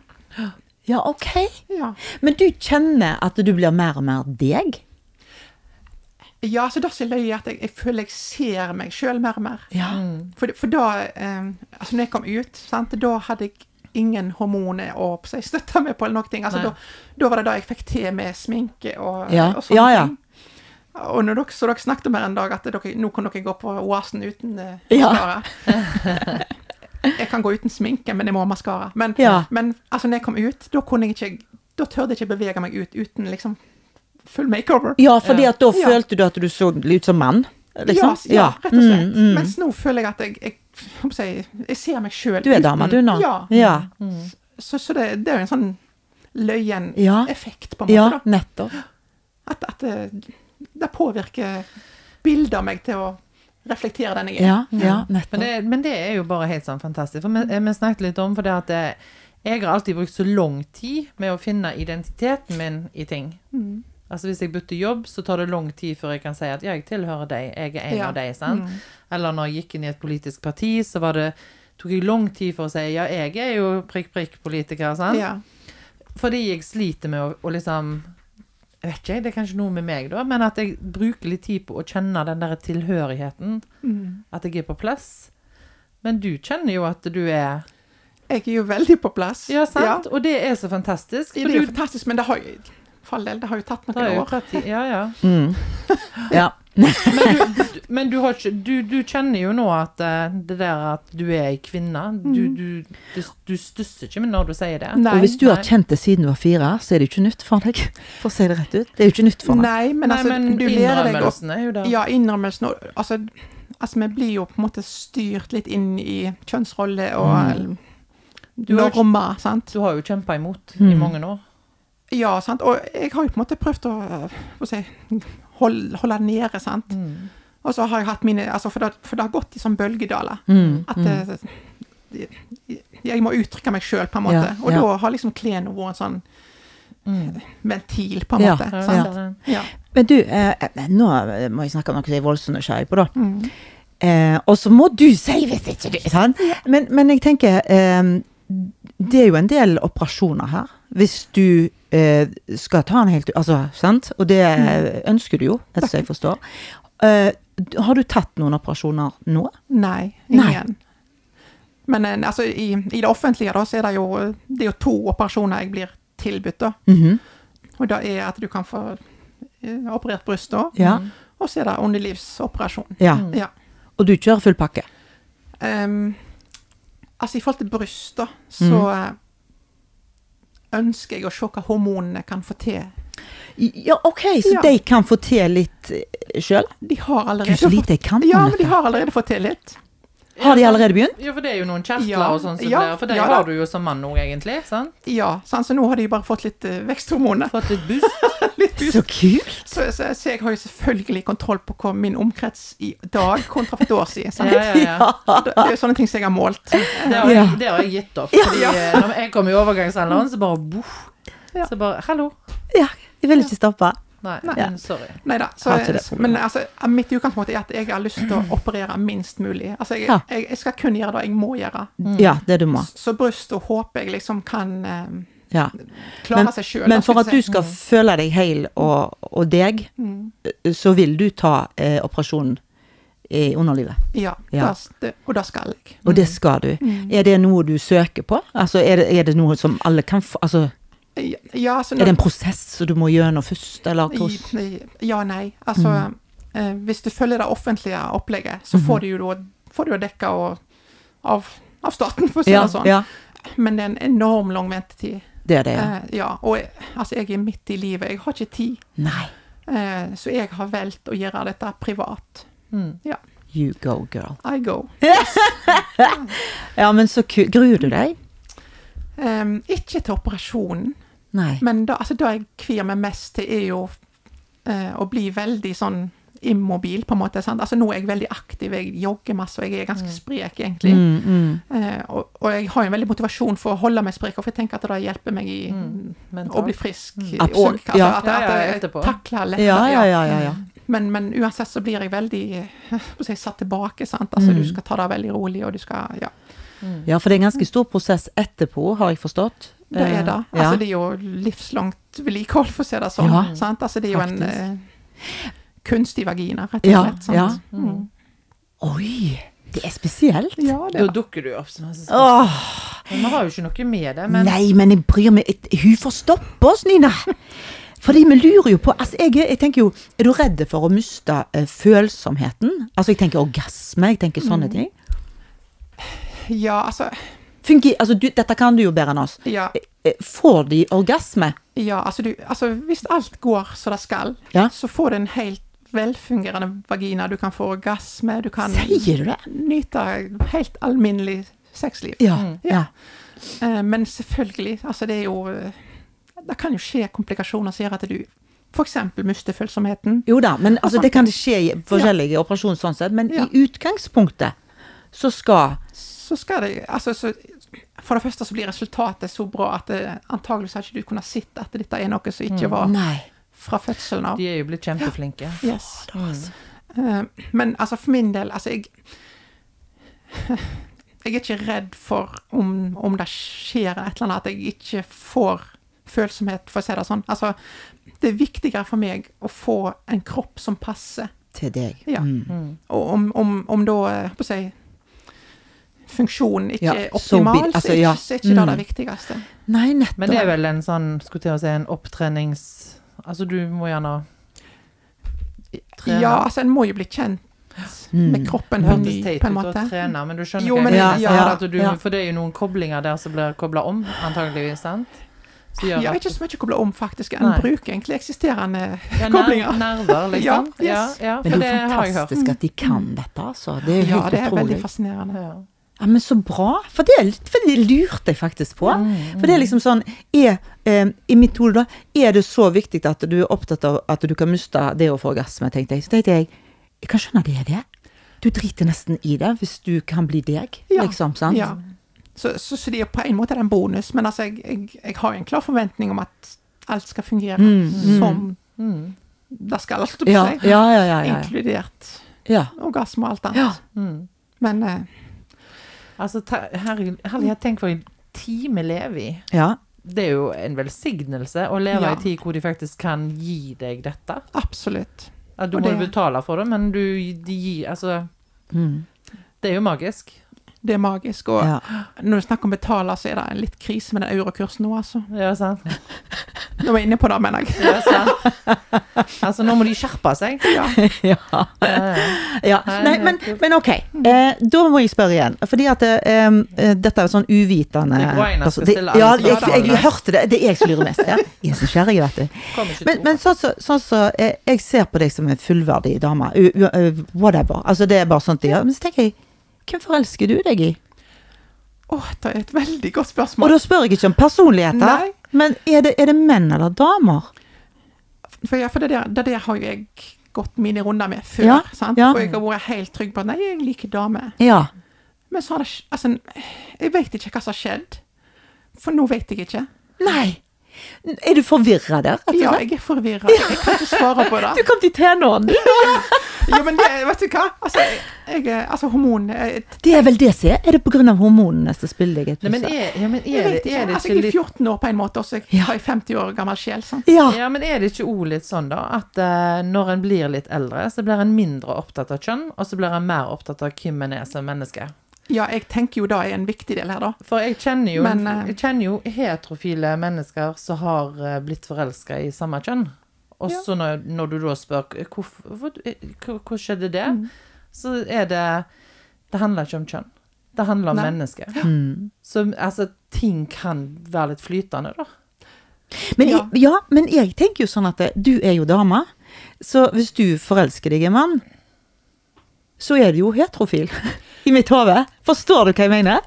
S1: Ja, ok.
S3: ja.
S1: Men du kjenner at du blir mer og mer deg?
S3: ja så det som er løye, er at jeg, jeg føler jeg ser meg sjøl mer og mer.
S1: Ja.
S3: For, for da eh, Altså, når jeg kom ut, sant, da hadde jeg ingen hormoner å på seg støtte meg på eller noen ting. Altså,
S2: Nei.
S3: da, da var det da jeg fikk til med sminke og,
S1: Ja.
S3: og sånne
S1: Ja, ja.
S3: ting. Og når dere, så dere snakket om her en dag at dere, nå kan dere gå på Oasen uten eh,
S1: Ja.
S3: maskara. jeg kan gå uten sminke, men jeg må ha maskara. Men,
S1: Ja.
S3: men altså, når jeg kom ut, da kunne jeg ikke Da tørde jeg ikke bevege meg ut uten liksom full makeover.
S1: Ja, fordi at da
S3: Ja.
S1: følte du at du så ut som mann? Liksom?
S3: Ja, ja, rett og slett.
S1: Mm, mm.
S3: Mens nå føler jeg at jeg, jeg, hva skal jeg, si, jeg ser meg sjøl
S1: Du er dame, du nå.
S3: Ja. Mm.
S1: Ja,
S3: Så, så det, det er jo en sånn løyen
S1: Ja.
S3: effekt, på en
S1: ja
S3: måte. Da.
S1: nettopp.
S3: At, at det, det påvirker bildet av meg til å reflektere den jeg er.
S1: Ja, ja, nettopp.
S2: Men det, men det er jo bare helt sånn fantastisk. For vi, vi snakket litt om for det at eh, jeg har alltid brukt så lang tid med å finne identiteten min i ting.
S3: Mm.
S2: Altså Hvis jeg bytter jobb, så tar det lang tid før jeg kan si at ja, jeg tilhører deg, jeg er en
S3: Ja. Mm.
S2: av deg. Sant? Eller når jeg gikk inn i et politisk parti, så var det, tok jeg lang tid for å si ja, jeg er jo prikk, prikk politiker. Sant?
S3: Ja.
S2: Fordi jeg sliter med å, å liksom jeg vet ikke, Det er kanskje noe med meg, da, men at jeg bruker litt tid på å kjenne den der tilhørigheten.
S3: Mm.
S2: At jeg er på plass. Men du kjenner jo at du er
S3: Jeg er jo veldig på plass.
S2: Ja, sant? Og det er så fantastisk.
S3: Ja,
S2: For
S3: det er jo
S2: du
S3: fantastisk, men det har jo, for all del, det har jo tatt
S2: det er
S3: noen
S2: jo
S3: år.
S2: tatt tid. Ja, ja.
S1: Ja.
S2: Men, du, du- men du, har ikke, du, du kjenner jo nå at eh, det der at du er ei kvinne du,
S3: Mm.
S2: du, du, du stusser ikke når du sier det.
S1: Og hvis du har
S2: Nei.
S1: kjent det siden du var fire, så er det jo ikke nytt for deg. For å si det rett ut. Det er jo ikke nytt for deg.
S3: Nei, men
S2: Nei,
S3: altså,
S2: men
S3: du lærer deg å
S2: innrømmelsen er jo der.
S3: Ja, innrømmelsen og altså, altså, vi blir jo på en måte styrt litt inn i kjønnsroller og
S2: Du har-
S3: normer, sant.
S2: Du har jo kjempa imot i mange år.
S3: Ja, sant. Og jeg har jo på en måte prøvd å hva skal jeg si, holde, holde det nede, sant. Og så har jeg hatt mine altså, for, det, for det har gått i sånn bølgedaler. At eh, jeg må uttrykke meg sjøl, på en måte.
S1: Ja,
S3: og
S1: ja.
S3: da har liksom klærne vært en sånn ventil, på en
S1: Ja,
S3: måte.
S2: Ja,
S3: sant?
S2: det er det.
S3: Ja.
S1: eh, Men du, eh, nå må jeg snakke om noe jeg er voldsomt nysgjerrig på, da. Eh, og så må du si hvis ikke du sant? Men, men jeg tenker eh, Det er jo en del operasjoner her. Hvis du eh, skal ta en helt altså, sant? Og det ønsker du jo, etter som jeg forstår. Eh, har du tatt noen operasjoner nå?
S3: Nei,
S1: Nei.
S3: ingen. Men eh, altså, i, i det offentlige da, så er det jo, det er jo to operasjoner jeg blir tilbudt. da.
S1: Mhm.
S3: Og det er at du kan få eh, operert bryst, da.
S1: Ja. Mm.
S3: og så er det underlivsoperasjon.
S1: ja.
S3: Ja.
S1: Og du kjører full pakke?
S3: Ehm, altså, i forhold til bryst, da, så
S1: Mm.
S3: eh, ønsker jeg å se hva hormonene kan få til.
S1: Ja, OK, så
S3: Ja.
S1: de kan få til litt eh, sjøl?
S3: De har
S1: Gud,
S3: allerede
S1: så lite jeg kan om
S3: Ja, men de
S1: dette.
S3: har allerede fått til litt.
S1: Har de allerede begynt?
S2: Ja, for det er jo noen kjertler
S3: Ja,
S2: og sånn som
S3: ja,
S2: blir For det
S3: ja da.
S2: har du jo som mann òg, egentlig. sant?
S3: Ja, sant? så nå har de jo bare fått litt eh, veksthormoner.
S2: Fått litt boost.
S3: litt boost.
S1: Så kult!
S3: Så, så, så jeg har jo selvfølgelig kontroll på hva min omkrets i dag kontra for et år siden. Sant?
S2: Ja, ja, ja.
S3: Det det er jo sånne ting som jeg har målt.
S2: Det har, jeg,
S1: Ja.
S2: det har jeg gitt opp. Fordi eh, når jeg kom i overgangsalderen, så bare boff.
S3: Ja.
S2: Så bare Hallo.
S1: Ja, jeg vil ikke stoppe.
S2: Nei,
S1: Ja.
S2: men sorry.
S3: Neida, så,
S1: Har ikke det problemet.
S3: men altså, mitt utgangspunkt er at jeg har lyst til å operere minst mulig. Altså, jeg,
S1: Ja.
S3: jeg, jeg skal kun gjøre det jeg må gjøre.
S1: Ja, det du må.
S3: Så brystet håper jeg liksom kan eh,
S1: Ja.
S3: klare
S1: Men-
S3: seg sjøl.
S1: Men for at du skal føle deg hel og, og deg,
S3: Mm.
S1: så vil du ta eh, operasjonen i underlivet.
S3: Ja.
S1: Ja.
S3: da- det- og det skal jeg.
S1: Og det skal du.
S3: Mm.
S1: Er det noe du søker på? Altså, er det, er det noe som alle kan få Altså,
S3: Ja, Ja, altså,
S1: er det en prosess som du må gjennom først, eller hvordan?
S3: I, i- ja, nei. Altså,
S1: Mm.
S3: eh, hvis du følger det offentlige
S1: Mhm.
S3: opplegget, så får du jo da får du jo dekka og, av, av staten, for å si
S1: Ja,
S3: det sånn.
S1: ja,
S3: Men det er en enorm lang ventetid.
S1: det er det, ja.
S3: Eh, ja, og jeg, altså, jeg er midt i livet, jeg har ikke tid.
S1: Nei,
S3: Eh, så jeg har valgt å gjøre dette privat. Ja,
S1: you go, girl.
S3: I go.
S1: Ja, men så ku- gruer du deg?
S3: Em, Ehm, ikke til operasjonen,
S1: Nei.
S3: men da, altså, det jeg kvir meg mest til, er jo eh, å bli veldig sånn immobil, på en måte. Sant? Altså, nå er jeg veldig aktiv, jeg jogger masse, og jeg er ganske sprek, egentlig.
S1: Mm, mm.
S3: Eh, og, og jeg har jo en veldig motivasjon for å holde meg sprek, og for jeg tenker at det hjelper meg i
S2: Mm.
S3: å bli
S2: Mentalt.
S3: frisk. Og,
S1: Absolutt,
S3: altså,
S1: ja.
S3: at, at
S2: Mm. Ja, ja,
S3: jeg
S2: etterpå.
S3: takler lettere.
S1: Ja, ja, ja, ja. ja.
S3: Men, men uansett så blir jeg veldig eh, hva skal jeg si, satt tilbake. sant? Altså,
S1: Mm.
S3: Du skal ta det veldig rolig, og du skal Ja,
S1: Ja, for det er en ganske stor prosess etterpå, har jeg forstått.
S3: Mm. det er det.
S1: Eh, ja.
S3: Altså, det er jo livslangt vedlikehold, for å si det sånn.
S1: Ja,
S3: sant? Altså, det er jo en
S1: faktisk.
S3: eh, kunstig vagina, rett og
S1: Ja,
S3: slett. sant?
S1: ja.
S3: Mm.
S1: Oi, det er spesielt.
S3: ja det
S2: Da
S3: er det.
S2: dukker du opp. som en sånn-
S1: Åh,
S2: Men vi har jo ikke noe med det. Men
S1: Nei, men jeg bryr meg et- Hun får stoppe oss, Nina! Fordi vi lurer jo på altså jeg, er- jeg tenker jo, Er du redd for å miste eh, følsomheten? Altså Jeg tenker orgasme, jeg tenker sånne ting.
S3: Ja, altså,
S1: Funker, altså du, Dette kan du jo bedre enn oss.
S3: ja,
S1: Eh, Får de orgasme?
S3: ja, altså, du, altså Hvis alt går som det skal,
S1: Ja.
S3: så får du en helt velfungerende vagina. Du kan få orgasme, du kan
S1: Sier du det?
S3: nyte helt alminnelig sexliv.
S1: Ja. ja.
S3: Eh, Men selvfølgelig, altså det er jo eh, Det kan jo skje komplikasjoner som gjør at du f.eks. mister følsomheten.
S1: Jo da, men altså, det kan det skje i forskjellige operasjoner, sånn sett. Men
S3: Ja.
S1: i utgangspunktet så skal
S3: Så skal det altså, så, For det første så blir resultatet så bra at det, antageligvis har ikke du kunnet sett at dette er noe som ikke var
S1: Mm. Nei.
S3: fra fødselen av.
S2: de er jo blitt kjempeflinke.
S3: Yes.
S1: Fader, altså.
S3: Eh, Men altså, for min del, altså jeg Jeg er ikke redd for om, om det skjer et eller annet, at jeg ikke får følsomhet, for å si det sånn. Altså, det er viktigere for meg å få en kropp som passer.
S1: Til deg. Mm.
S3: Ja.
S2: Mm.
S3: Og om, om, om da eh, på å si, funksjonen ikke
S1: Ja,
S3: er
S1: so be-
S3: optimal, så,
S1: altså,
S3: er ikke,
S1: ja.
S3: så er ikke det
S1: Mm.
S3: det viktigste.
S1: Nei, nettopp.
S2: Men det er vel en sånn, skulle til å si, en opptrenings... Altså, du må gjerne trene.
S3: Ja, altså, en må jo bli kjent
S1: Mm.
S3: med kroppen Mm-hmm. på
S2: Hørtes
S3: ny,
S2: teit
S3: på en
S2: ut å
S3: måte.
S2: trene, men du skjønner
S3: Jo,
S2: hva
S3: men-
S2: jeg
S1: ja,
S2: mener. Sånn
S1: ja,
S2: at du,
S1: ja.
S2: For det er jo noen koblinger der som blir kobla om, antageligvis, sant? Så gjør
S3: Ja,
S2: at-
S3: ikke så mye å koble om, faktisk. En
S2: Nei.
S3: bruker egentlig eksisterende
S2: Ja, ner-
S3: koblinger.
S2: Nerver, liksom.
S3: Ja, yes.
S2: ja, ja,
S1: Men
S2: for
S1: det
S2: det
S1: er jo
S2: har jeg hørt.
S1: fantastisk at de kan dette, altså. Det er jo
S3: Ja,
S1: helt
S3: det er
S1: utrolig.
S3: veldig fascinerende.
S2: Ja.
S1: Ja, men så bra. For det, er litt- for det lurte jeg faktisk på. For det er liksom sånn er, eh, I mitt hode da, er det så viktig at du er opptatt av at du kan miste det å få orgasme, tenkte jeg. Så tenkte jeg, jeg kan skjønne det er det. Du driter nesten i det hvis du kan bli deg,
S3: Ja,
S1: liksom. sant?
S3: Ja. Så, så, så det er på en måte en bonus, men altså, jeg, jeg, jeg har en klar forventning om at alt skal fungere som det skal, alt
S1: Mm. ja, ja, ja. ja, ja.
S3: inkludert
S1: Ja.
S3: orgasme og alt annet.
S1: Ja.
S2: Mm.
S3: Men eh,
S2: Altså, ta- herregud, herlighet, tenk for en tid vi lever i.
S1: ja.
S2: Det er jo en velsignelse å leve i
S3: Ja.
S2: en tid hvor de faktisk kan gi deg dette.
S3: absolutt.
S2: Ja, du må
S3: Og det-
S2: jo betale for det, men du, de gir Altså,
S1: Mm.
S2: det er jo magisk.
S3: Det er magisk. Og
S1: ja.
S3: når du snakker om betale, så er det en litt krise med den eurokursen nå, altså.
S2: Ja, sant?
S3: Nå var jeg inne på det, mener jeg.
S2: Ja, sant? Altså, nå må de skjerpe seg.
S3: Ja.
S1: ja.
S2: Ja, ja.
S1: Ja,
S2: Nei,
S1: nei, men,
S2: nettopp.
S1: men ok. Eh, da må jeg spørre igjen. Fordi at eh, eh, dette er jo sånn uvitende
S2: Det er Brian som
S1: person-
S2: skal stille alle
S1: ja,
S2: som
S1: jeg,
S2: har
S1: jeg,
S2: det.
S1: hørte det. Det er jeg som lurer mest. Ja. Jeg er så nysgjerrig, vet du.
S2: Kom ikke
S1: Men,
S2: to.
S1: men sånn som så, sånn så, eh, jeg ser på deg som en fullverdig dame. U, u, u, whatever. Altså, det er bare sånt de gjør. Men så tenker jeg, hvem forelsker du deg i?
S3: Å, det er et veldig
S1: Og
S3: godt spørsmål.
S1: da spør jeg ikke om personligheter,
S3: Nei.
S1: men er det, er det menn eller damer?
S3: For, ja, for det, der, det der har jo jeg gått mine runder med før.
S1: Ja,
S3: Sant?
S1: ja.
S3: Og jeg har vært helt trygg på at nei, jeg liker damer.
S1: Ja.
S3: Men så har det skj- Altså, jeg vet ikke hva som har skjedd. For nå vet jeg ikke.
S1: Nei. Er du forvirra der? rett og
S3: Ja,
S1: slett?
S3: jeg er forvirra. Jeg kan ikke svare på det.
S1: Du kom til tenåren, du.
S3: Jo, men det, vet du hva? Altså, jeg, jeg, altså hormonene jeg,
S1: Det er vel det som er. Er det pga. hormonene som spiller deg et
S2: Nei, men
S1: pusse?
S2: er, ja, men
S3: jeg
S2: er,
S3: vet
S2: det,
S3: ikke.
S2: er det
S3: Altså,
S2: ikke
S3: jeg er
S2: litt
S3: 14 år på en måte, og så
S1: Ja.
S3: har jeg 50 år gammel sjel. Sant?
S1: Ja.
S2: ja, men er det ikke òg litt sånn, da, at eh, når en blir litt eldre, så blir en mindre opptatt av kjønn, og så blir en mer opptatt av hvem en er som menneske?
S3: Ja, jeg tenker jo det er en viktig del her, da.
S2: For jeg kjenner jo,
S3: Men, eh,
S2: jeg kjenner jo heterofile mennesker som har eh, blitt forelska i samme kjønn. Og så når, når du da spør eh, hvorfor, hvor, eh, hvor, hvor skjedde det,
S3: Mm.
S2: så er det Det handler ikke om kjønn. Det handler om
S3: Nei.
S2: mennesker. Så altså, ting kan være litt flytende, da.
S1: Men,
S3: Ja.
S1: Jeg, ja, men jeg tenker jo sånn at eh, du er jo dame, så hvis du forelsker deg i en mann, så er du jo heterofil. I mitt hode. Forstår du hva jeg mener?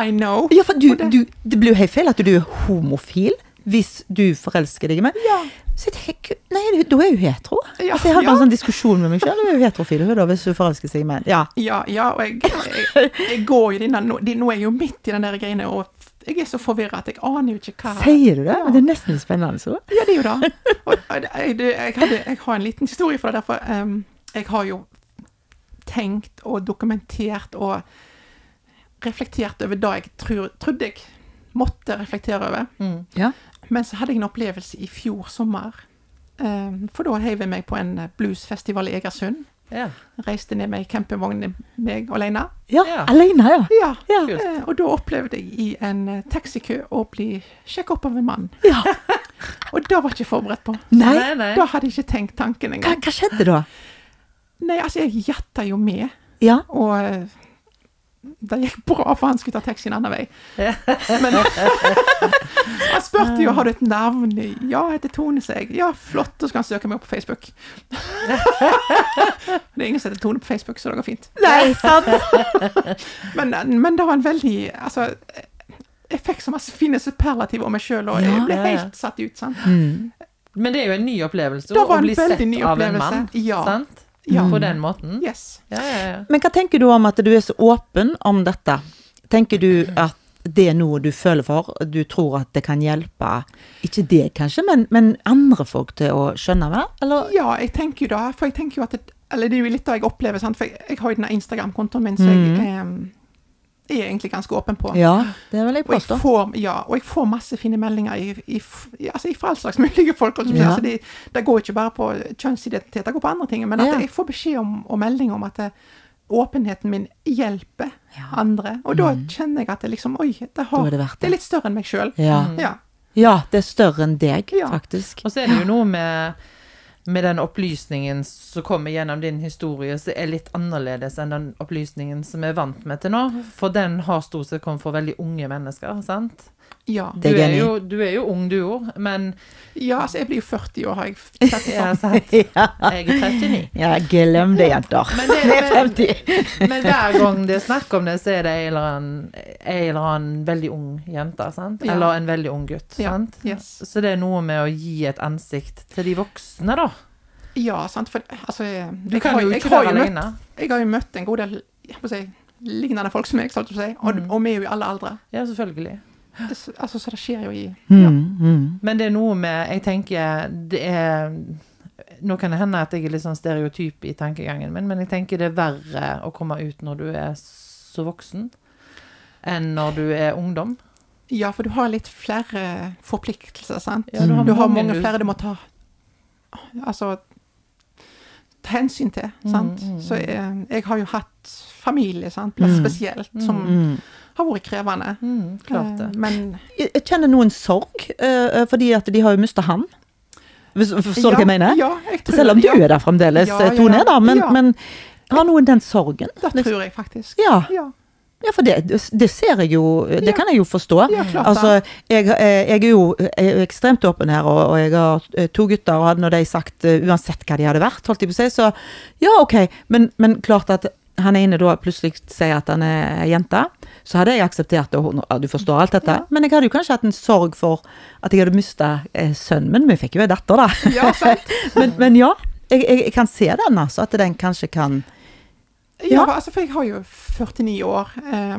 S3: I know.
S1: Ja, for du,
S3: Og det-
S1: du, det blir jo helt feil at du er homofil hvis du forelsker deg i meg.
S3: Ja.
S1: Så jeg tenker, gud, nei, du- da er jeg jo hetero.
S3: Ja,
S1: altså, jeg hadde
S3: ja.
S1: en sånn diskusjon med meg sjøl. Du er jo heterofil hun, da, hvis du forelsker seg i meg. Ja.
S3: Ja, ja, og jeg, jeg, jeg går jo denne, nå, de- nå er jeg jo midt i den der greiene, og jeg er så forvirra at jeg aner jo ikke hva
S1: Sier du det?
S3: Ja.
S1: Men det er nesten litt spennende. altså. Så.
S3: Ja, det er jo det. Og, og det- jeg, det- jeg, hadde, jeg har en liten historie for det, derfor em, jeg har jo tenkt og dokumentert og reflektert over det jeg tror, trodde jeg måtte reflektere over.
S2: Mm.
S1: Ja.
S3: Men så hadde jeg en opplevelse i fjor sommer. Em, for da heiv jeg meg på en bluesfestival i Egersund.
S2: Ja.
S3: Reiste ned med ei campingvogn, meg alene.
S1: Ja,
S2: Ja.
S1: alene, ja.
S3: Ja,
S1: Ja.
S2: Kult.
S3: Eh, Og da opplevde jeg i en eh, taxikø å bli sjekket opp av en mann.
S1: ja.
S3: Og det var jeg ikke forberedt på.
S1: Nei,
S2: Nei, nei.
S3: Da hadde jeg ikke tenkt tanken
S1: hva,
S3: engang.
S1: hva skjedde da?
S3: Nei, altså, jeg gjetta jo med,
S1: Ja.
S3: og eh, det gikk bra, for han skulle ta taxi en annen vei.
S2: Ja.
S3: Men han spurte jo har du et navn. Ja, jeg heter Tone, sa jeg. Ja, flott, da skal han søke meg opp på Facebook. det er ingen som heter Tone på Facebook, så det går fint.
S1: Nei, sant?
S3: Men, men det var en veldig Altså, jeg fikk så masse fine superlativ om meg sjøl, og
S1: Ja,
S3: jeg ble
S2: ja, Mhm. ja.
S3: helt satt ut, sant.
S2: Men det er jo en ny opplevelse
S3: Det
S2: å
S3: var en
S2: bli sett
S3: veldig ny
S2: av en
S3: opplevelse.
S2: mann.
S3: Ja.
S2: Sant?
S3: Ja.
S2: På den måten.
S3: Yes.
S2: Ja, ja, ja.
S1: Men hva tenker du om at du er så åpen om dette? Tenker du at det er noe du føler for, du tror at det kan hjelpe, ikke deg kanskje, men, men andre folk til å skjønne mer, eller?
S3: Ja, jeg tenker jo da, for jeg tenker jo at det, Eller det er jo litt det jeg opplever, sant. For jeg, jeg har jo denne Instagram-kontoen min, så jeg
S2: Mhm.
S3: eh, er egentlig ganske åpen på.
S1: Ja, det vil jeg
S3: Og jeg,
S1: påstå.
S3: får, ja, og jeg får masse fine meldinger i, i, f- ja, altså, fra all slags mulige folk. holdt jeg på å si.
S1: Ja.
S3: Altså, det, det går ikke bare på kjønnsidentitet, det går på andre ting. Men at
S1: Ja.
S3: jeg får beskjed om, og melding om at eh, åpenheten min hjelper
S1: Ja. Mm.
S3: andre. Og da kjenner jeg at det liksom Oi, det,
S1: Da
S3: har,
S1: er det
S3: det,
S1: verdt det.
S3: er litt større enn meg sjøl.
S1: Ja.
S3: Ja.
S1: ja, det er større enn deg,
S3: Ja.
S1: faktisk.
S2: Og så er det jo noe med, med den opplysningen som kommer gjennom din historie, som er litt annerledes enn den opplysningen som vi er vant med til nå. For den har stort sett kommet fra veldig unge mennesker, sant?
S3: Ja.
S2: Du
S1: Det er
S2: er
S1: enig.
S2: jo, du er jo ung, du òg, men
S3: ja, altså jeg blir jo 40 år, har jeg sett det
S2: ja,
S3: sånn.
S2: sant? Jeg er 39.
S1: Ja, glem det, jenter.
S2: Men det-
S1: Det er 50.
S2: Men hver gang det er snakk om det, så er det en eller annen, en eller annen veldig ung jente, sant?
S3: Ja.
S2: Eller en veldig ung gutt,
S3: Ja,
S2: sant?
S3: yes.
S2: Så det er noe med å gi et ansikt til de voksne, da.
S3: Ja, sant. For altså jeg,
S2: Du
S3: jeg,
S2: kan
S3: har,
S2: jo
S3: jeg,
S2: ikke
S3: har
S2: være
S3: jo møtt,
S2: alene.
S3: jeg har jo møtt en god del jeg holdt på å si, lignende folk som meg, holdt jeg på å si. Og,
S1: Mm.
S3: og vi er jo i alle aldre.
S2: Ja, selvfølgelig.
S3: Så- Altså, så det skjer jo i
S1: Mm, mm.
S2: Men det er noe med Jeg tenker det er Nå kan det hende at jeg er litt sånn stereotyp i tankegangen min, men jeg tenker det er verre å komme ut når du er så voksen, enn når du er ungdom.
S3: Ja, for du har litt flere forpliktelser, sant?
S2: Ja,
S3: du, har
S2: mange
S3: mange
S2: du-
S3: flere du må ta Altså ta hensyn til,
S1: Mm,
S3: sant? Så jeg, jeg har jo hatt familie, sant? spesielt, som
S1: Mm.
S3: har vært krevende.
S2: Mm, klart det.
S3: Eh, Men
S1: Jeg jeg kjenner noen sorg, eh, eh, fordi at de har jo mista han. Hvis- Forstår du hva jeg mener?
S3: Ja, jeg tror
S1: Selv om
S3: det,
S1: du
S3: ja.
S1: er der fremdeles, eh,
S3: Ja, ja,
S1: Tone, da, men,
S3: ja.
S1: men har noen den sorgen?
S3: Det tror jeg faktisk.
S1: Ja.
S3: Ja.
S1: Ja, for det, det ser jeg jo eh, Det
S3: Ja.
S1: kan jeg jo forstå.
S3: Ja, klart det.
S1: altså, jeg, eh, jeg er jo jeg er jo ekstremt åpen her, og, og jeg har eh, to gutter, og hadde nå de sagt eh, uansett hva de hadde vært, holdt jeg på å si, så ja, ok. Men, men klart at han er inne da plutselig sier at han er jente, så hadde jeg akseptert det, og hun- ja, du forstår alt dette. Men jeg hadde jo kanskje hatt en sorg for at jeg hadde mista eh, sønnen min, men vi fikk jo ei datter, da.
S3: Ja, sant?
S1: men, men ja, jeg, jeg, jeg kan se den, altså, at den kanskje kan
S3: Ja, altså, for jeg har jo 49 år eh,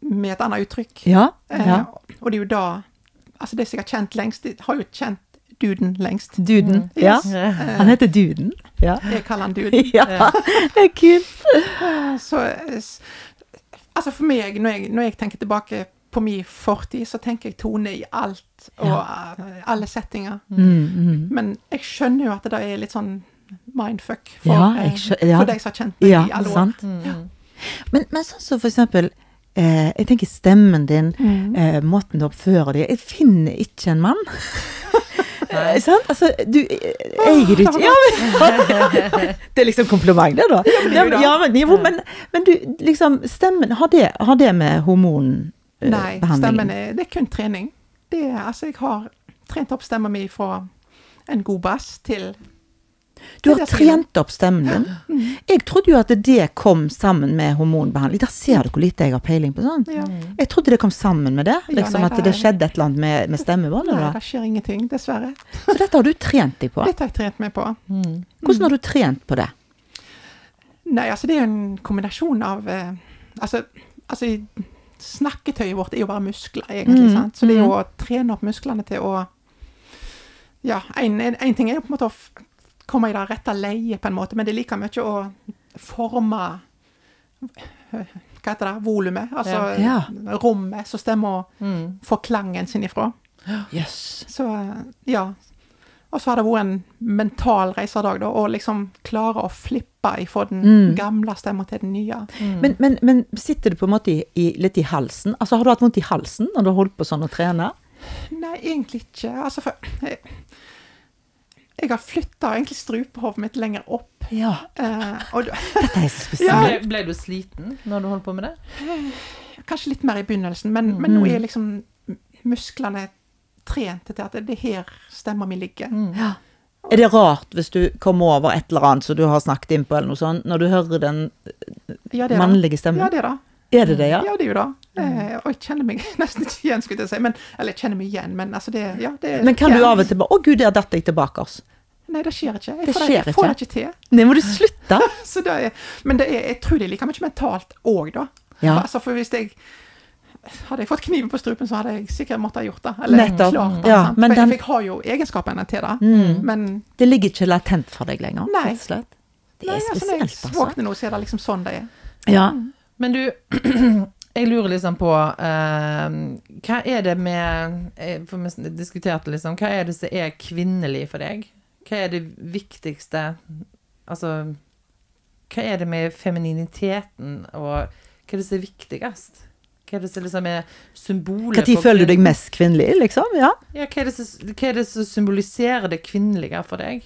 S3: med et annet uttrykk.
S1: Ja. ja.
S3: Eh, og det er jo da Altså, det som jeg har kjent lengst, jeg har jo kjent duden lengst.
S2: Eh,
S1: Duden.
S2: mm.
S1: Ja.
S3: Yes.
S2: Ja.
S1: Han heter Duden. mm, Eh. Ja.
S3: Jeg kaller han duden.
S1: Ja, det er kult.
S3: Så, eh, s- altså for meg, når jeg, når jeg tenker tilbake på min fortid, så tenker jeg Tone i alt og eh, alle settinger.
S1: Mm.
S3: Men jeg skjønner jo at det er litt sånn mindfuck for,
S1: Ja, jeg
S3: eh,
S1: skjø- ja.
S3: for de som har kjent meg
S1: Ja,
S3: i alle år.
S1: sant.
S2: Mm,
S1: Men, men sånn som for eksempel eh, Jeg tenker stemmen din,
S3: Mm.
S1: eh, måten du oppfører deg Jeg finner ikke en mann. Eh, sant? Altså, du eh, eier
S3: Ah, det
S1: ikke
S3: var
S1: ja, men, Det er liksom kompliment, det, da. Ja, men, ja, men, jo, men, men du, liksom Stemmen, har det, har det med eh,
S3: Nei, stemmen
S1: hormonbehandlingen
S3: er, det er kun trening. Det er, altså, jeg har trent opp stemmen min fra en god bass til
S1: Du har
S3: det Mm. jeg sier.
S1: trent opp stemmen din. Jeg trodde jo at det kom sammen med hormonbehandling. Der ser du hvor lite jeg har peiling på sånn.
S2: mm,
S3: ja.
S1: Jeg trodde det kom sammen med det.
S3: Ja,
S1: Liksom
S3: nei,
S1: At
S3: det
S1: det
S3: er-
S1: skjedde et eller annet med, med stemmebåndet.
S3: Nei,
S1: da.
S3: det skjer ingenting, dessverre.
S1: Så dette har du trent deg på.
S3: Dette har jeg trent meg på.
S2: mm.
S1: Hvordan har du trent på det?
S3: Nei, altså det er jo en kombinasjon av eh, Altså, altså i- snakketøyet vårt er jo bare muskler, egentlig.
S1: Mm,
S3: sant? Så det er jo å trene opp musklene til å Ja, en, en, en ting er jo på en måte å f- komme i det rette leiet, på en måte, men det er like mye å forme eh, Hva heter det? Volumet? Altså
S1: Ja.
S3: rommet som stemmer
S2: Mm.
S3: får klangen sin ifra.
S1: Jøss.
S3: Så ja. Og så har det vært en mental reisedag, da, å liksom klare å flippe ifra den
S1: Mm.
S3: gamle stemmen til den nye.
S1: Men, men, men sitter du på en måte i, i, litt i halsen? Altså Har du hatt vondt i halsen når du har holdt på sånn å trene?
S3: Nei, egentlig ikke. Altså, for jeg, jeg har flytta egentlig strupehovet mitt lenger opp.
S1: Ja.
S3: Eh, og da-
S1: Dette er så
S2: Ble,
S1: spesielt.
S2: ble du sliten når du holdt på med det?
S3: kanskje litt mer i begynnelsen, men, men nå er
S1: Mm.
S3: liksom musklene trent til at det er her stemmen min ligger.
S1: Ja. Er det rart hvis du kommer over et eller annet som du har snakket inn på, eller noe sånt, når du hører den
S3: Ja, det er det.
S1: mannlige stemmen?
S3: Ja, det er det.
S1: Er det det, ja? Mm.
S3: Ja, det er jo det. Eh, og jeg kjenner meg nesten ikke igjen, skulle jeg til å si. Men, eller jeg kjenner meg igjen, men altså det, ja, det er
S1: Men kan du
S3: ja.
S1: av og til bare Å, gud, der datt jeg tilbake. oss.
S3: Nei, det skjer ikke. Jeg
S1: Det
S3: får,
S1: skjer
S3: jeg får det
S1: ikke.
S3: ikke til.
S1: Nei, må du slutte!
S3: Så det er, men det er, jeg tror det er like mye mentalt òg, da.
S1: Ja.
S3: For, altså, for hvis jeg hadde jeg fått kniven på strupen, så hadde jeg sikkert måttet ha gjort det. Eller
S1: Nettopp.
S3: klart det.
S1: Ja,
S3: sant?
S1: men
S3: for
S1: den- Mm.
S3: jeg, jeg har jo egenskapene til det. Men
S1: Det ligger ikke latent for deg lenger,
S3: Nei.
S1: rett og slett. Det
S3: nei,
S1: er
S3: altså, når
S1: spesielt,
S3: jeg
S1: altså.
S3: våkner nå, så er det liksom sånn det er.
S1: Ja.
S2: Men du, jeg lurer liksom på eh, Hva er det med eh, For vi diskuterte liksom Hva er det som er kvinnelig for deg? Hva er det viktigste Altså Hva er det med femininiteten, og hva er det som er viktigst? Hva er det som liksom er symbolet
S3: Mm.
S1: Når føler du deg mest kvinnelig, liksom? Ja.
S2: Ja, hva er, det som, hva er det som symboliserer det kvinnelige for deg?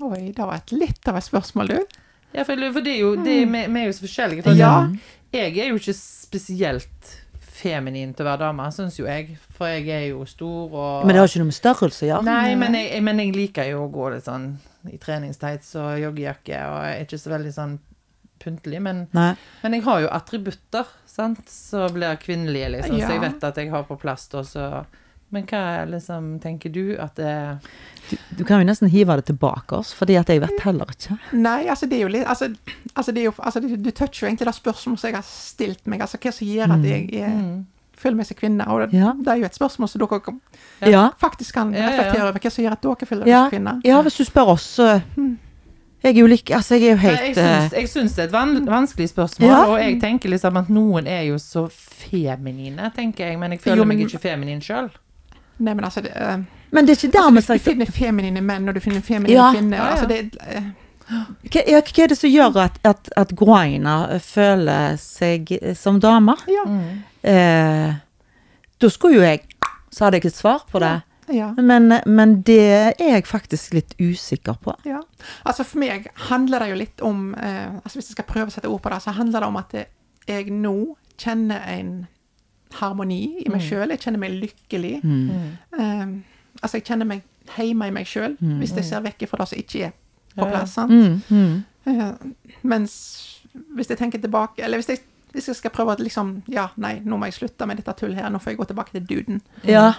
S3: Oi, det var et litt av et spørsmål, du.
S2: Ja, for, jeg lurer- for det er jo, det er, vi, vi er jo så forskjellige. For
S3: Ja.
S2: Jeg er jo ikke spesielt feminin til å være dame, syns jo jeg. For jeg er jo stor og
S1: Men det har ikke noe med størrelse å gjøre.
S2: Nei, men jeg, men jeg liker jo å gå litt sånn i treningstights og joggejakke, og jeg er ikke så veldig sånn pyntelig. Men,
S1: Nei.
S2: men jeg har jo attributter, sant, som blir kvinnelige, liksom.
S3: Ja.
S2: Så jeg vet at jeg har på plass, da, så Men hva er liksom, tenker du at det
S1: Du, du kan jo nesten hive det tilbake oss, fordi at jeg vet heller ikke.
S3: Nei, altså det er jo litt Altså, altså, det er jo, altså du, du toucher jo egentlig det spørsmålet som jeg har stilt meg. Altså hva som gjør at jeg er føler med seg kvinne. Og det,
S1: Mm. Ja.
S3: det er jo et spørsmål som dere kan,
S2: Ja.
S1: Ja.
S3: faktisk kan
S2: Ja, ja, ja.
S3: reflektere over hva som gjør at dere
S1: Ja.
S3: føler dere som kvinner.
S1: ja, hvis du spør oss, så hmm. Jeg er jo like Altså, jeg er jo
S2: Nei, jeg
S1: helt
S2: syns-
S1: eh,
S2: Jeg syns det er et van vanskelig spørsmål,
S1: Ja.
S2: og jeg tenker liksom at noen er jo så feminine, tenker jeg, men jeg føler
S3: Jo,
S2: meg
S3: men-
S2: ikke feminin sjøl.
S3: Nei, men altså, det, eh,
S1: Men det er ikke
S3: altså,
S1: dermed
S3: du, du
S1: sagt
S3: finner feminine menn, og du finner feminine
S1: Ja.
S3: kvinner.
S2: Ja, ja.
S3: Altså, det, eh,
S1: hva, ja, hva er det som gjør at, at, at groiner føler seg som damer?
S3: ja,
S1: Eh, da skulle jo jeg Så hadde jeg et svar på det.
S3: ja.
S1: Men, men det er jeg faktisk litt usikker på.
S3: Ja. Altså for meg handler det jo litt om eh, altså Hvis jeg skal prøve å sette ord på det, så handler det om at det- jeg nå kjenner en harmoni i meg
S2: Mm.
S3: sjøl. Jeg kjenner meg lykkelig. Eh, altså jeg kjenner meg hjemme i meg sjøl, hvis jeg ser vekk fra det som ikke er
S2: Mm.
S3: på
S2: Ja, ja.
S3: plass. Sant?
S1: Mm, mm.
S3: Eh, mens hvis jeg tenker tilbake Eller hvis jeg, hvis jeg skal prøve å liksom Ja, nei, nå må jeg slutte med dette tullet her, nå får jeg gå tilbake til duden.
S2: mm.
S1: Ja.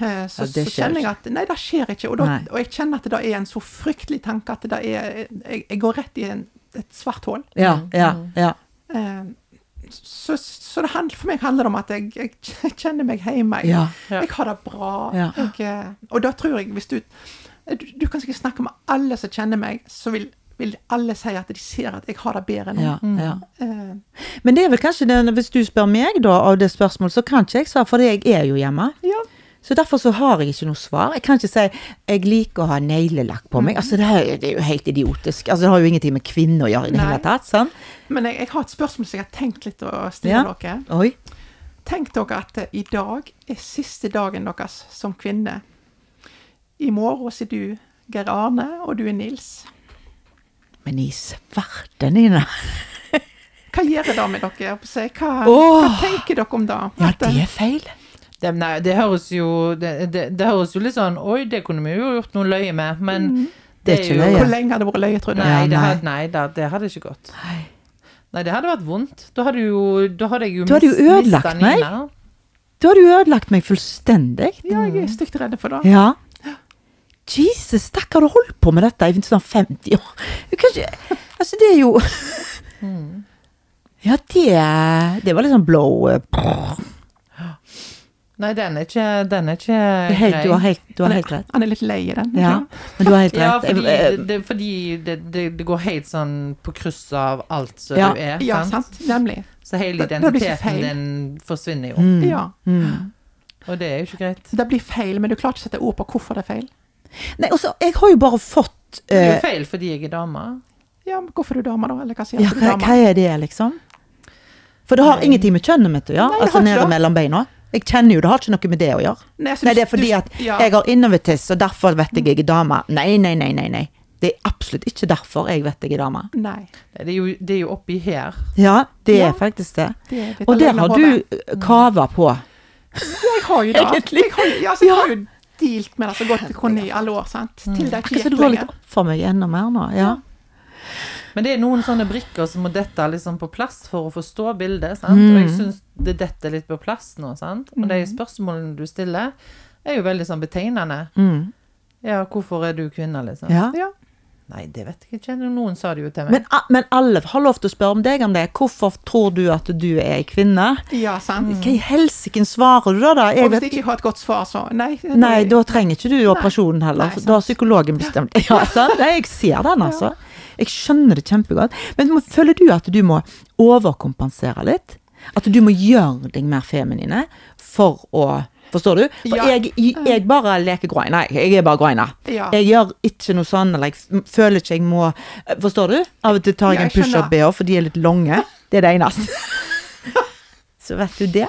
S3: Eh, Så,
S1: Ja, det
S3: så
S1: skjer
S3: kjenner jeg at nei, det skjer ikke. Og, da,
S1: Nei.
S3: og jeg kjenner at det er en så fryktelig tanke at det er Jeg, jeg går rett i en, et svart hull.
S1: Ja, ja, ja.
S3: Eh, Så, så det handler, for meg handler det om at jeg, jeg kjenner meg hjemme. Jeg,
S1: Ja.
S2: Ja.
S3: jeg har det bra.
S1: Ja.
S3: Jeg, eh, og da tror jeg, hvis du eh, Du, du kan sikkert snakke med alle som kjenner meg, så vil, vil alle si at de ser at jeg har det bedre nå.
S1: ja, ja.
S3: Eh,
S1: Men det er vel kanskje den, hvis du spør meg da, av det spørsmålet, så kan ikke jeg svare, for jeg er jo hjemme.
S3: ja.
S1: Så derfor så har jeg ikke noe svar. Jeg kan ikke si jeg liker å ha neglelakk på meg. Altså, det, er, det er jo helt idiotisk. Altså, det har jo ingenting med kvinner å gjøre i det
S3: Nei.
S1: hele tatt. sant?
S3: Men jeg, jeg har et spørsmål som jeg har tenkt litt å stille
S1: Ja.
S3: dere.
S1: Oi.
S3: Tenk dere at eh, i dag er siste dagen deres som kvinne. I morgen sier du Geir Arne, og du er Nils.
S1: Men i svarte, Nina.
S3: Hva gjør det med dere? Jeg holdt på å si, Hva, hva
S1: Åh.
S3: tenker dere om det?
S1: Ja,
S3: At,
S1: det
S3: eh,
S1: er feil.
S2: Det, nei, det høres jo det, det, det høres jo litt sånn Oi, det kunne vi jo gjort noe løye med, men
S1: Det er ikke løye.
S3: Hvor lenge hadde det vært løye, tror du?
S1: Mm. Ja,
S2: Nei, det
S1: nei.
S2: hadde, nei da, det hadde ikke gått. Nei, det hadde vært vondt. Da hadde, jo, da hadde jeg jo
S1: Du hadde jo
S2: mis- mistet
S1: ødelagt meg.
S2: Nina.
S1: Da har du ødelagt meg fullstendig.
S3: Ja, jeg er stygt redd for det.
S1: Ja. Jesus, stakkar, du har holdt på med dette i sånn 50 år. Du kan ikke Altså, det er jo Ja, det Det var litt sånn blow eh,
S2: Nei, den er ikke, den er ikke
S1: helt, Du har helt, du har helt rett.
S3: Han er litt lei i den. ikke
S1: Ja,
S3: sant?
S1: men du har helt
S2: Ja,
S1: rett. Eh,
S2: fordi,
S1: Jeg-
S2: det, det- fordi det, det, det går helt sånn på kryss av alt som
S1: Ja.
S2: du er.
S3: ja
S2: sant?
S3: sant? Nemlig.
S2: Så hele
S3: Det- det blir ikke
S2: identiteten
S3: feil. Mm.
S2: din forsvinner jo.
S1: Mm.
S3: Ja.
S2: Og det er jo ikke greit.
S3: Det blir feil, men du klarer ikke å sette ord på hvorfor det er feil.
S1: eh, Nei, også, jeg har jo bare fått
S2: Det er jo
S1: eh,
S2: feil fordi jeg er dame.
S3: Ja, men Hvorfor er du dame, da? Eller hva sier
S1: Ja,
S3: du,
S1: hva, hva
S3: dame?
S1: er det, liksom? For det har ingenting med kjønnet mitt å gjøre.
S3: Nei, det
S1: altså
S3: har ikke
S1: nede
S3: det.
S1: mellom beina. Jeg kjenner jo, det har ikke noe med det å gjøre.
S3: Nei, altså,
S1: Nei,
S3: du-
S1: det er fordi
S3: du-
S1: at
S3: ja.
S1: jeg har innovatis, og derfor vet jeg jeg er dame. Nei, nei, nei, nei, nei. Det er absolutt ikke derfor jeg vet jeg er dame.
S3: Nei.
S2: Det er jo, det er jo oppi her.
S1: Ja, det
S3: Ja.
S1: er faktisk det.
S3: Det er litt
S1: Og der
S3: alene
S1: har
S3: på
S1: du eh, kava på.
S3: Jeg har jo det.
S1: Egentlig.
S3: Jeg har, jo- ja, altså, jeg har jo dealt med det så godt jeg kunne i alle år. sant? Til det ikke
S1: Akkurat så
S3: gikk
S1: det går
S3: lenger.
S1: litt opp for meg enda mer nå. Ja.
S2: Men det er noen sånne brikker som må dette liksom på plass for å forstå bildet. Sant? Og
S3: Mm.
S2: jeg syns det detter litt på plass nå. Sant? Og de spørsmålene du stiller, er jo veldig sånn betegnende.
S1: Mm.
S2: Ja, hvorfor er du kvinne, liksom?
S1: ja.
S3: Ja.
S2: Nei, det vet jeg ikke. Noen sa det jo til meg.
S1: Men, a- men alle har lov til å spørre om deg om det. Hvorfor tror du at du er ei kvinne?
S3: ja, sant.
S1: Hva i helsiken svarer du da? da? Mm.
S3: Og
S1: Jeg
S3: hvis
S1: vet
S3: jeg ikke har et godt svar, så Nei.
S1: Nei, da trenger ikke du operasjonen heller.
S3: Nei,
S1: for
S3: sant.
S1: da har psykologen bestemt Ja, sant? Nei, jeg ser den, altså. Jeg skjønner det kjempegodt. Men må- føler du at du må overkompensere litt? At du må gjøre deg mer feminine for å Forstår du? For
S3: Ja.
S1: jeg, jeg bare leker groin. Nei, jeg er bare groina.
S3: Ja.
S1: Jeg gjør ikke noe sånn, eller jeg f- føler ikke jeg må Forstår du? Av og til tar
S3: Ja,
S1: jeg en
S3: jeg skjønner.
S1: push-up-bh, for de er litt lange. Det er det eneste. Så vet du det.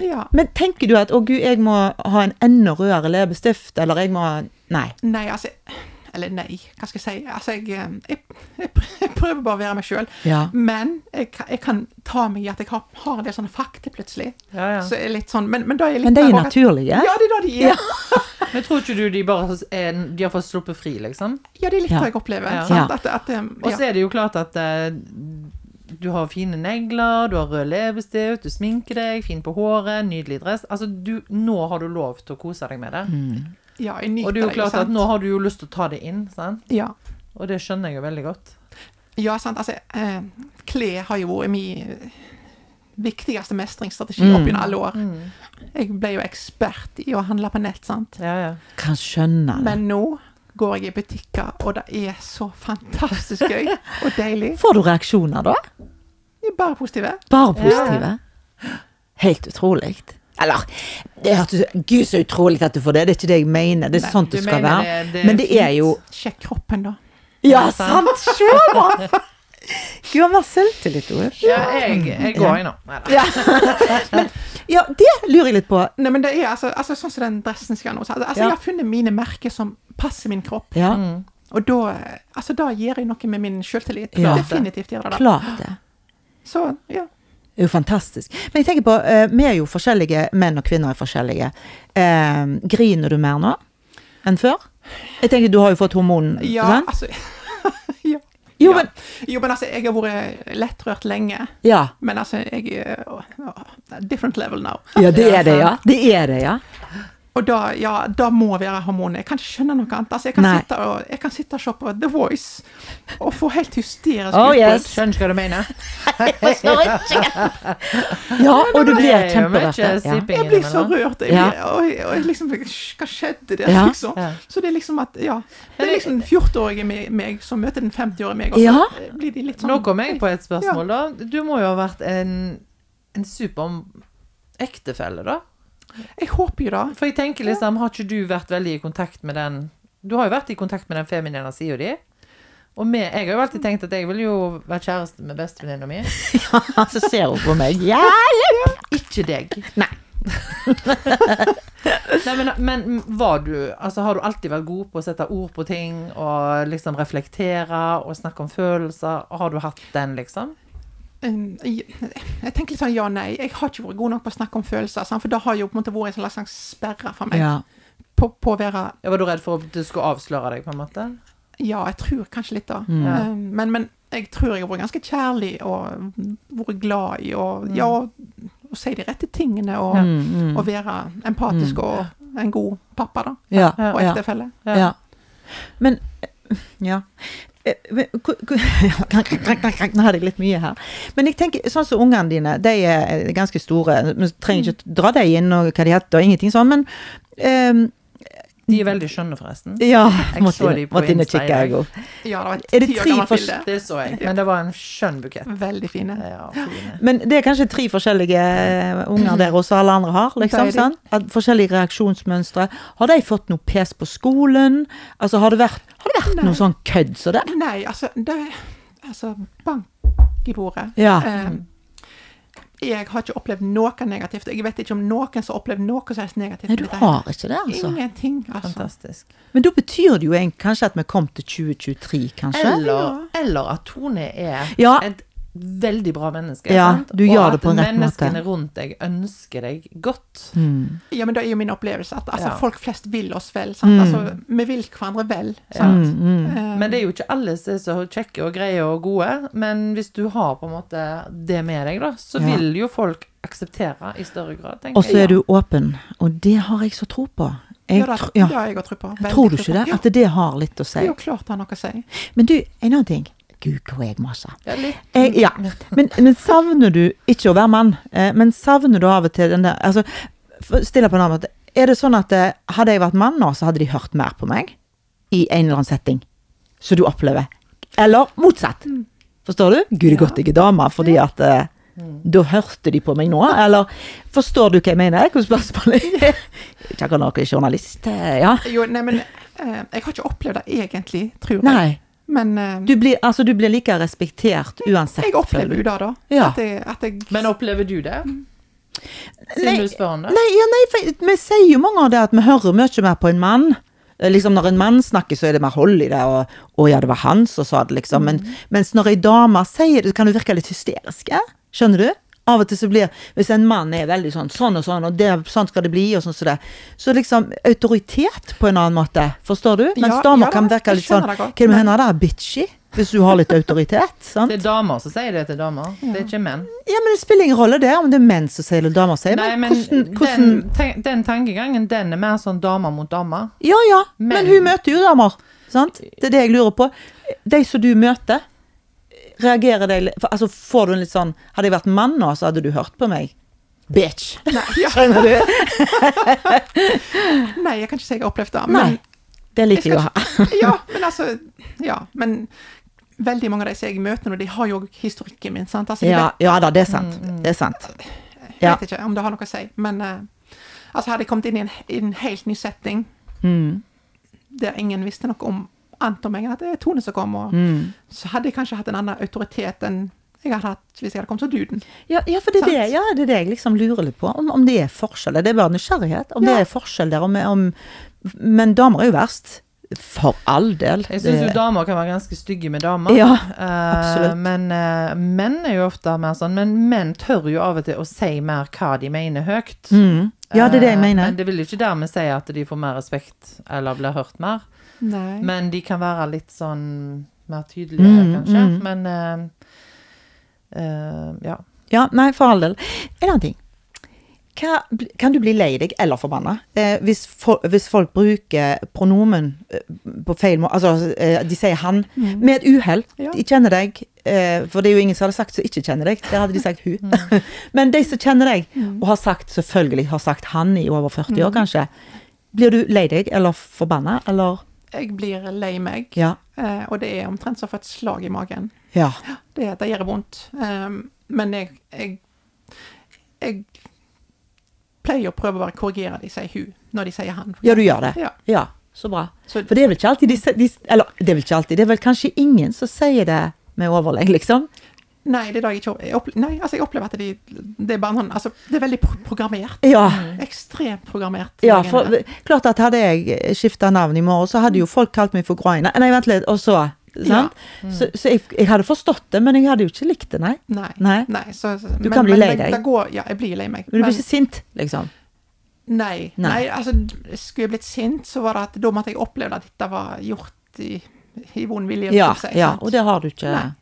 S3: Ja.
S1: Men tenker du at 'å gud, jeg må ha en enda rødere leppestift', eller 'jeg må ha Nei.
S3: Nei, altså Eller nei, hva skal jeg si? Altså, jeg, jeg, jeg pr- jeg prøver bare å være meg sjøl.
S1: Ja.
S3: Men jeg, kan- jeg kan ta meg i at jeg har, har en del sånne fakta plutselig.
S2: Ja, ja.
S3: Så er jeg litt sånn, men, men da er jeg litt
S1: Men de er
S3: mer-
S1: naturlige.
S3: Ja, det er da de er. Ja,
S2: Men tror ikke du de bare er, de har fått sluppet fri, liksom?
S3: det er litt
S1: Ja.
S3: det jeg opplever.
S2: Ja.
S3: Sant? At, at, um,
S2: Og
S3: ja.
S2: så er det jo klart at eh, du har fine negler, du har rød leppestift, du sminker deg, fin på håret, nydelig dress. Altså, du, nå har du lov til å kose deg med det.
S3: ja, jeg nyter
S2: Og det er jo
S3: det,
S2: klart at
S3: sant?
S2: nå har du jo lyst til å ta det inn, sant?
S3: ja.
S2: Og det skjønner jeg jo veldig godt.
S3: Ja, sant. Altså, eh, klær har jo vært min viktigste
S1: Mm.
S3: mestringsstrategi opp gjennom alle år. Jeg ble jo ekspert i å handle på nett, sant.
S2: Ja, ja.
S1: Kan skjønne det.
S3: Men nå går jeg i butikker, og det er så fantastisk gøy og deilig.
S1: Får du reaksjoner da?
S3: De er bare positive.
S1: Bare positive? Helt utrolig. Eller det hørtes Gud, så utrolig at du får det. Det er ikke det jeg mener. Det er
S3: Nei,
S1: sånn
S2: du
S1: det skal
S2: mener
S1: være.
S2: det- det er
S1: Men det er
S2: fint.
S1: jo
S3: Sjekk kroppen, da.
S1: Ja, sant! Se, da! Du har mer selvtillit, Oluf.
S2: ja jeg, jeg går inn nå. Neida.
S1: Ja, det lurer jeg litt på.
S3: Nei, men det er altså, altså sånn som den dressen skal nå. Altså, altså,
S1: Ja.
S3: Jeg har funnet mine merker som passer min kropp.
S1: Ja,
S2: Mm,
S3: Og da, altså, da gjør jeg noe med min selvtillit.
S1: Ja.
S3: Definitivt gjør jeg det.
S1: klart det.
S3: Så, ja.
S1: Det er jo fantastisk. Men jeg tenker på, eh, vi er jo forskjellige, menn og kvinner er forskjellige. Eh, griner du mer nå enn før? Jeg tenker du har jo fått hormon,
S3: Ja,
S1: sant?
S3: altså ja.
S1: Jo,
S3: ja.
S1: men
S3: jo, men altså, jeg har vært lettrørt lenge.
S1: Ja.
S3: Men altså, jeg er å, å, Different level now.
S1: Ja, det er det, ja. Det er det, ja.
S3: Og da, ja, da må være hormonet. Jeg kan ikke skjønne noe annet. Altså, jeg, kan
S1: Nei.
S3: sitte og, jeg kan sitte og se på The Voice og få helt hysterisk
S1: Oh, yes.
S2: Skjønner hva du mener.
S1: Ja, og du
S2: Det
S1: blir
S2: er jo
S1: kjemperørt.
S2: mye
S1: Ja.
S2: sipping
S3: Jeg blir så
S2: innimellom.
S3: rørt. Jeg
S1: Ja.
S3: blir, og, jeg- og jeg liksom Hva skjedde der,
S1: Ja.
S3: liksom?
S2: Ja.
S3: Så det er liksom at Ja. Det er liksom den 14-årige me- meg som møter den 50-årige meg, og så
S1: Ja.
S3: blir de litt sånn
S2: Nå kom jeg på et spørsmål, da. Du må jo ha vært en, en super ektefelle, da?
S3: Jeg håper jo det.
S2: For jeg tenker liksom, har ikke du vært veldig i kontakt med den Du har jo vært i kontakt med den feminine sida di. Og med, jeg har jo alltid tenkt at jeg vil jo være kjæreste med bestevenninna mi.
S1: Så ser hun på meg. Ja!
S2: Ikke deg. Nei. men, men var du Altså, har du alltid vært god på å sette ord på ting og liksom reflektere og snakke om følelser? Har du hatt den, liksom?
S3: Um, Jeg jeg tenker litt sånn ja nei. Jeg har ikke vært god nok på å snakke om følelser, sant? for det har jo på en måte vært en slags slags sperre for meg.
S1: Ja.
S3: På, på å være
S2: Ja, Var du redd for at du skulle avsløre deg, på en måte?
S3: Ja, jeg tror kanskje litt da.
S1: Mm.
S2: Ja.
S3: Um, Men, men jeg tror jeg har vært ganske kjærlig og vært glad i å ja, og, og si de rette tingene og,
S1: Mm, mm.
S3: og være empatisk og en god pappa, da.
S1: Ja,
S2: Ja,
S3: og
S1: ja.
S3: ektefelle.
S1: Ja. Men eh, Ja. Eh, men hvor- hvor- ja, krank, krank, krank, krank, Nå hadde jeg litt mye her. Men jeg tenker, sånn som ungene dine, de er eh, ganske store. Vi trenger ikke dra dem inn og hva de heter og ingenting sånn, men ehm,
S2: De er veldig skjønne, forresten.
S1: Ja.
S2: Jeg
S1: Måtte
S2: så
S1: inn-
S2: de på
S1: måtte inn og
S2: Insta i
S1: kikke, jeg
S2: dag.
S1: òg.
S3: Ja, det var et
S1: Er det
S3: ti år
S1: tre
S3: gammelt
S1: forskjell-
S3: bilde.
S2: Det så jeg. Men det var en skjønn bukett.
S3: Veldig fine.
S2: Ja, fine.
S1: Men det er kanskje tre forskjellige eh, unger der også, alle andre har.
S3: Det
S1: liksom,
S3: er de.
S1: sant? At forskjellige reaksjonsmønstre. Har de fått noe pes på skolen? Altså, Har det vært, har det vært noe sånn kødd som det?
S3: Nei, altså, det Altså, bank i bordet.
S1: Ja.
S3: Eh, jeg har ikke opplevd noe negativt. Jeg vet ikke om noen som har opplevd noe som helst negativt.
S1: Nei, du
S3: med dette.
S1: har ikke det, altså.
S3: Ingenting, altså.
S2: Fantastisk.
S1: Men da betyr det jo egentlig kanskje at vi kom til 2023, kanskje?
S2: Eller, eller at Tone er
S1: Ja.
S2: et veldig bra menneske.
S1: Ja,
S2: sant?
S1: du gjør det på en rett
S2: Og at menneskene
S1: måte.
S2: rundt deg ønsker deg godt.
S1: Mm.
S3: Ja, men det er jo min opplevelse at altså,
S2: Ja.
S3: folk flest vil oss vel. Sant? Altså, vi vil hverandre vel. Sant?
S1: Mm,
S3: Eh,
S2: Men det er jo ikke alle som er så kjekke og greie og gode. Men hvis du har på en måte det med deg, da, så
S1: Ja.
S2: vil jo folk akseptere i større grad, tenker
S1: Og så er
S2: jeg.
S1: du åpen, og det har jeg så tro på. Jeg,
S3: ja, det,
S1: tr-
S3: det
S1: ja.
S3: har jeg òg tro på. Veldig
S1: Tror du
S3: tro
S1: ikke
S3: på.
S1: det?
S3: Ja,
S1: At det har litt å
S3: det
S1: si?
S3: er jo klart det har noe å si.
S1: Men du, en annen ting. Gud, hvor jeg maser.
S2: Ja, litt.
S1: Jeg, Eh,
S3: Mm.
S1: ja. men, men savner du ikke å være mann, eh, men savner du av og til den der altså, for- Stille på en annen måte. Er det sånn at eh, hadde jeg vært mann nå, så hadde de hørt mer på meg? I en eller annen setting. Som du opplever. Eller motsatt.
S3: Mm.
S1: Forstår du? Gud, det er godt jeg er dame, fordi at eh,
S3: Mm.
S1: da hørte de på meg nå, eller Forstår du hva jeg mener? Hva spørsmålet er? Ikke akkurat noe journalist, eh, ja.
S3: Jo, nei, men eh, jeg har ikke opplevd det egentlig, tror jeg.
S1: Nei.
S3: Men eh,
S1: Du blir, altså, du blir like respektert uansett.
S3: jeg opplever
S1: føler
S3: jo
S1: du.
S3: det da.
S1: Ja.
S3: At jeg, at jeg
S2: Men opplever du det? Siden
S1: Nei,
S2: du spør om det?
S1: Nei, ja, nei for vi sier jo mange av det at vi hører mye mer på en mann. Eh, Liksom Når en mann snakker, så er det mer hold i det, og 'å ja, det var han som sa det', liksom. Men,
S3: Mm.
S1: mens når ei dame sier det, så kan det virke litt hysterisk. eh? Skjønner du? Av og til så blir Hvis en mann er veldig sånn sånn og sånn, og det, sånn skal det bli, og sånn som det, så liksom autoritet på en annen måte. Forstår du? Mens
S3: Ja,
S1: damer
S3: ja da,
S1: kan virke
S3: jeg
S1: litt sånn
S3: skjønner det
S1: Hva er
S3: godt,
S1: det med
S3: men-
S1: henne der? Bitchy? Hvis du har litt autoritet, sant?
S2: Det er damer som sier det til damer. Det er ikke menn.
S1: Ja, men det spiller ingen rolle det, om det er menn som sier det, eller damer sier det.
S2: Nei,
S1: Eh, Men
S2: men
S1: hvordan, hvordan
S2: Den, ten- den tankegangen, den er mer sånn dame mot dame.
S1: Ja, ja, men,
S2: Men-
S1: hun møter jo damer. Sant? Det er det jeg lurer på. De som du møter, reagerer de for, altså, Får du en litt sånn Hadde jeg vært mann nå, så hadde du hørt på meg. Bitch! Skjønner du?
S3: Nei, jeg kan ikke si jeg har opplevd det.
S1: Nei.
S3: Men,
S1: Det liker
S3: Jeg
S1: jeg å
S3: skal
S1: ha.
S3: ja, men altså Ja, men veldig mange av de som jeg møter nå, de har jo historikken min, sant. Altså, de
S1: Ja, ja da, det er sant. Det er sant.
S3: vet, Mm. jeg
S1: Ja.
S3: vet ikke om det har noe å si, men eh, altså, hadde jeg kommet inn i en, i en helt ny setting
S1: Mm.
S3: der ingen visste noe om annet om meg enn at det er Tone som kom, og,
S1: Mm.
S3: så hadde jeg kanskje hatt en annen autoritet enn jeg hadde hatt hvis jeg hadde kommet som Duden.
S1: Ja, ja, for det er
S3: Sant.
S1: det, ja, det er det jeg liksom lurer litt på. Om, om det er forskjeller. Det er bare nysgjerrighet. Om
S3: Ja.
S1: det er forskjell der. Om, om, men damer er jo verst. For all del.
S2: Jeg syns jo
S1: Det-
S2: damer kan være ganske stygge med damer.
S1: Eh, Ja,
S2: Eh,
S1: absolutt.
S2: men eh, menn er jo ofte mer sånn. Men menn tør jo av og til å si mer hva de mener høyt.
S1: mm. ja, det er det jeg
S2: Eh,
S1: mener.
S2: Men det vil jo ikke dermed si at de får mer respekt eller blir hørt mer.
S3: Nei.
S2: Men de kan være litt sånn mer tydelige,
S1: Mm,
S2: kanskje.
S1: mm.
S2: Men eh, eh, ja.
S1: Ja, nei, for all del. En annen ting. Hva, bl- kan du bli lei deg eller forbanna eh, hvis, fol- hvis folk bruker pronomen eh, på feil måte? Altså, eh, de sier 'han' med et uhell.
S3: Ja.
S1: De kjenner deg, eh, for det er jo ingen som hadde sagt 'som ikke kjenner deg'. Der hadde de sagt 'hun'. Men de som kjenner deg, og har sagt selvfølgelig har sagt 'han' i over 40 år, kanskje. Blir du lei deg eller forbanna, eller
S3: Jeg blir lei meg,
S1: Ja.
S3: eh, og det er omtrent som å få et slag i magen.
S1: Ja.
S3: Det, det gjør vondt. Um, men jeg, jeg Jeg pleier å prøve å bare korrigere de sier hun, når de sier han.
S1: ja, du gjør det.
S3: Ja.
S1: Ja, så bra.
S3: Så-
S1: For det er vel ikke alltid de, se- de Eller, det er vel ikke alltid. Det er vel kanskje ingen som sier det med overlegg, liksom.
S3: Nei, det er da jeg ikke jeg opple Nei, altså, jeg opplever at de Det er bare noen Altså, det er veldig pro programmert.
S1: Ja.
S3: Ekstremt programmert.
S1: ja
S3: Mange
S1: for,
S3: av Mm, det.
S1: klart at hadde jeg skifta navn i morgen, så hadde jo folk kalt meg for Groina. Nei, vent litt, og så
S3: Ja. Mm.
S1: Sant? Så, så jeg, jeg hadde forstått det, men jeg hadde jo ikke likt det, nei.
S3: Nei.
S1: Nei.
S3: så, så-
S1: Du kan bli lei
S3: det-
S1: deg.
S3: Det går, ja, jeg blir lei meg.
S1: Men du blir ikke sint, liksom.
S3: Nei.
S1: Nei.
S3: nei. altså, skulle jeg blitt sint, så var det at da måtte jeg oppleve at dette var gjort i, i vond vilje.
S1: Ja,
S3: skulle jeg si,
S1: ja,
S3: sant?
S1: og det har du ikke.
S3: Nei.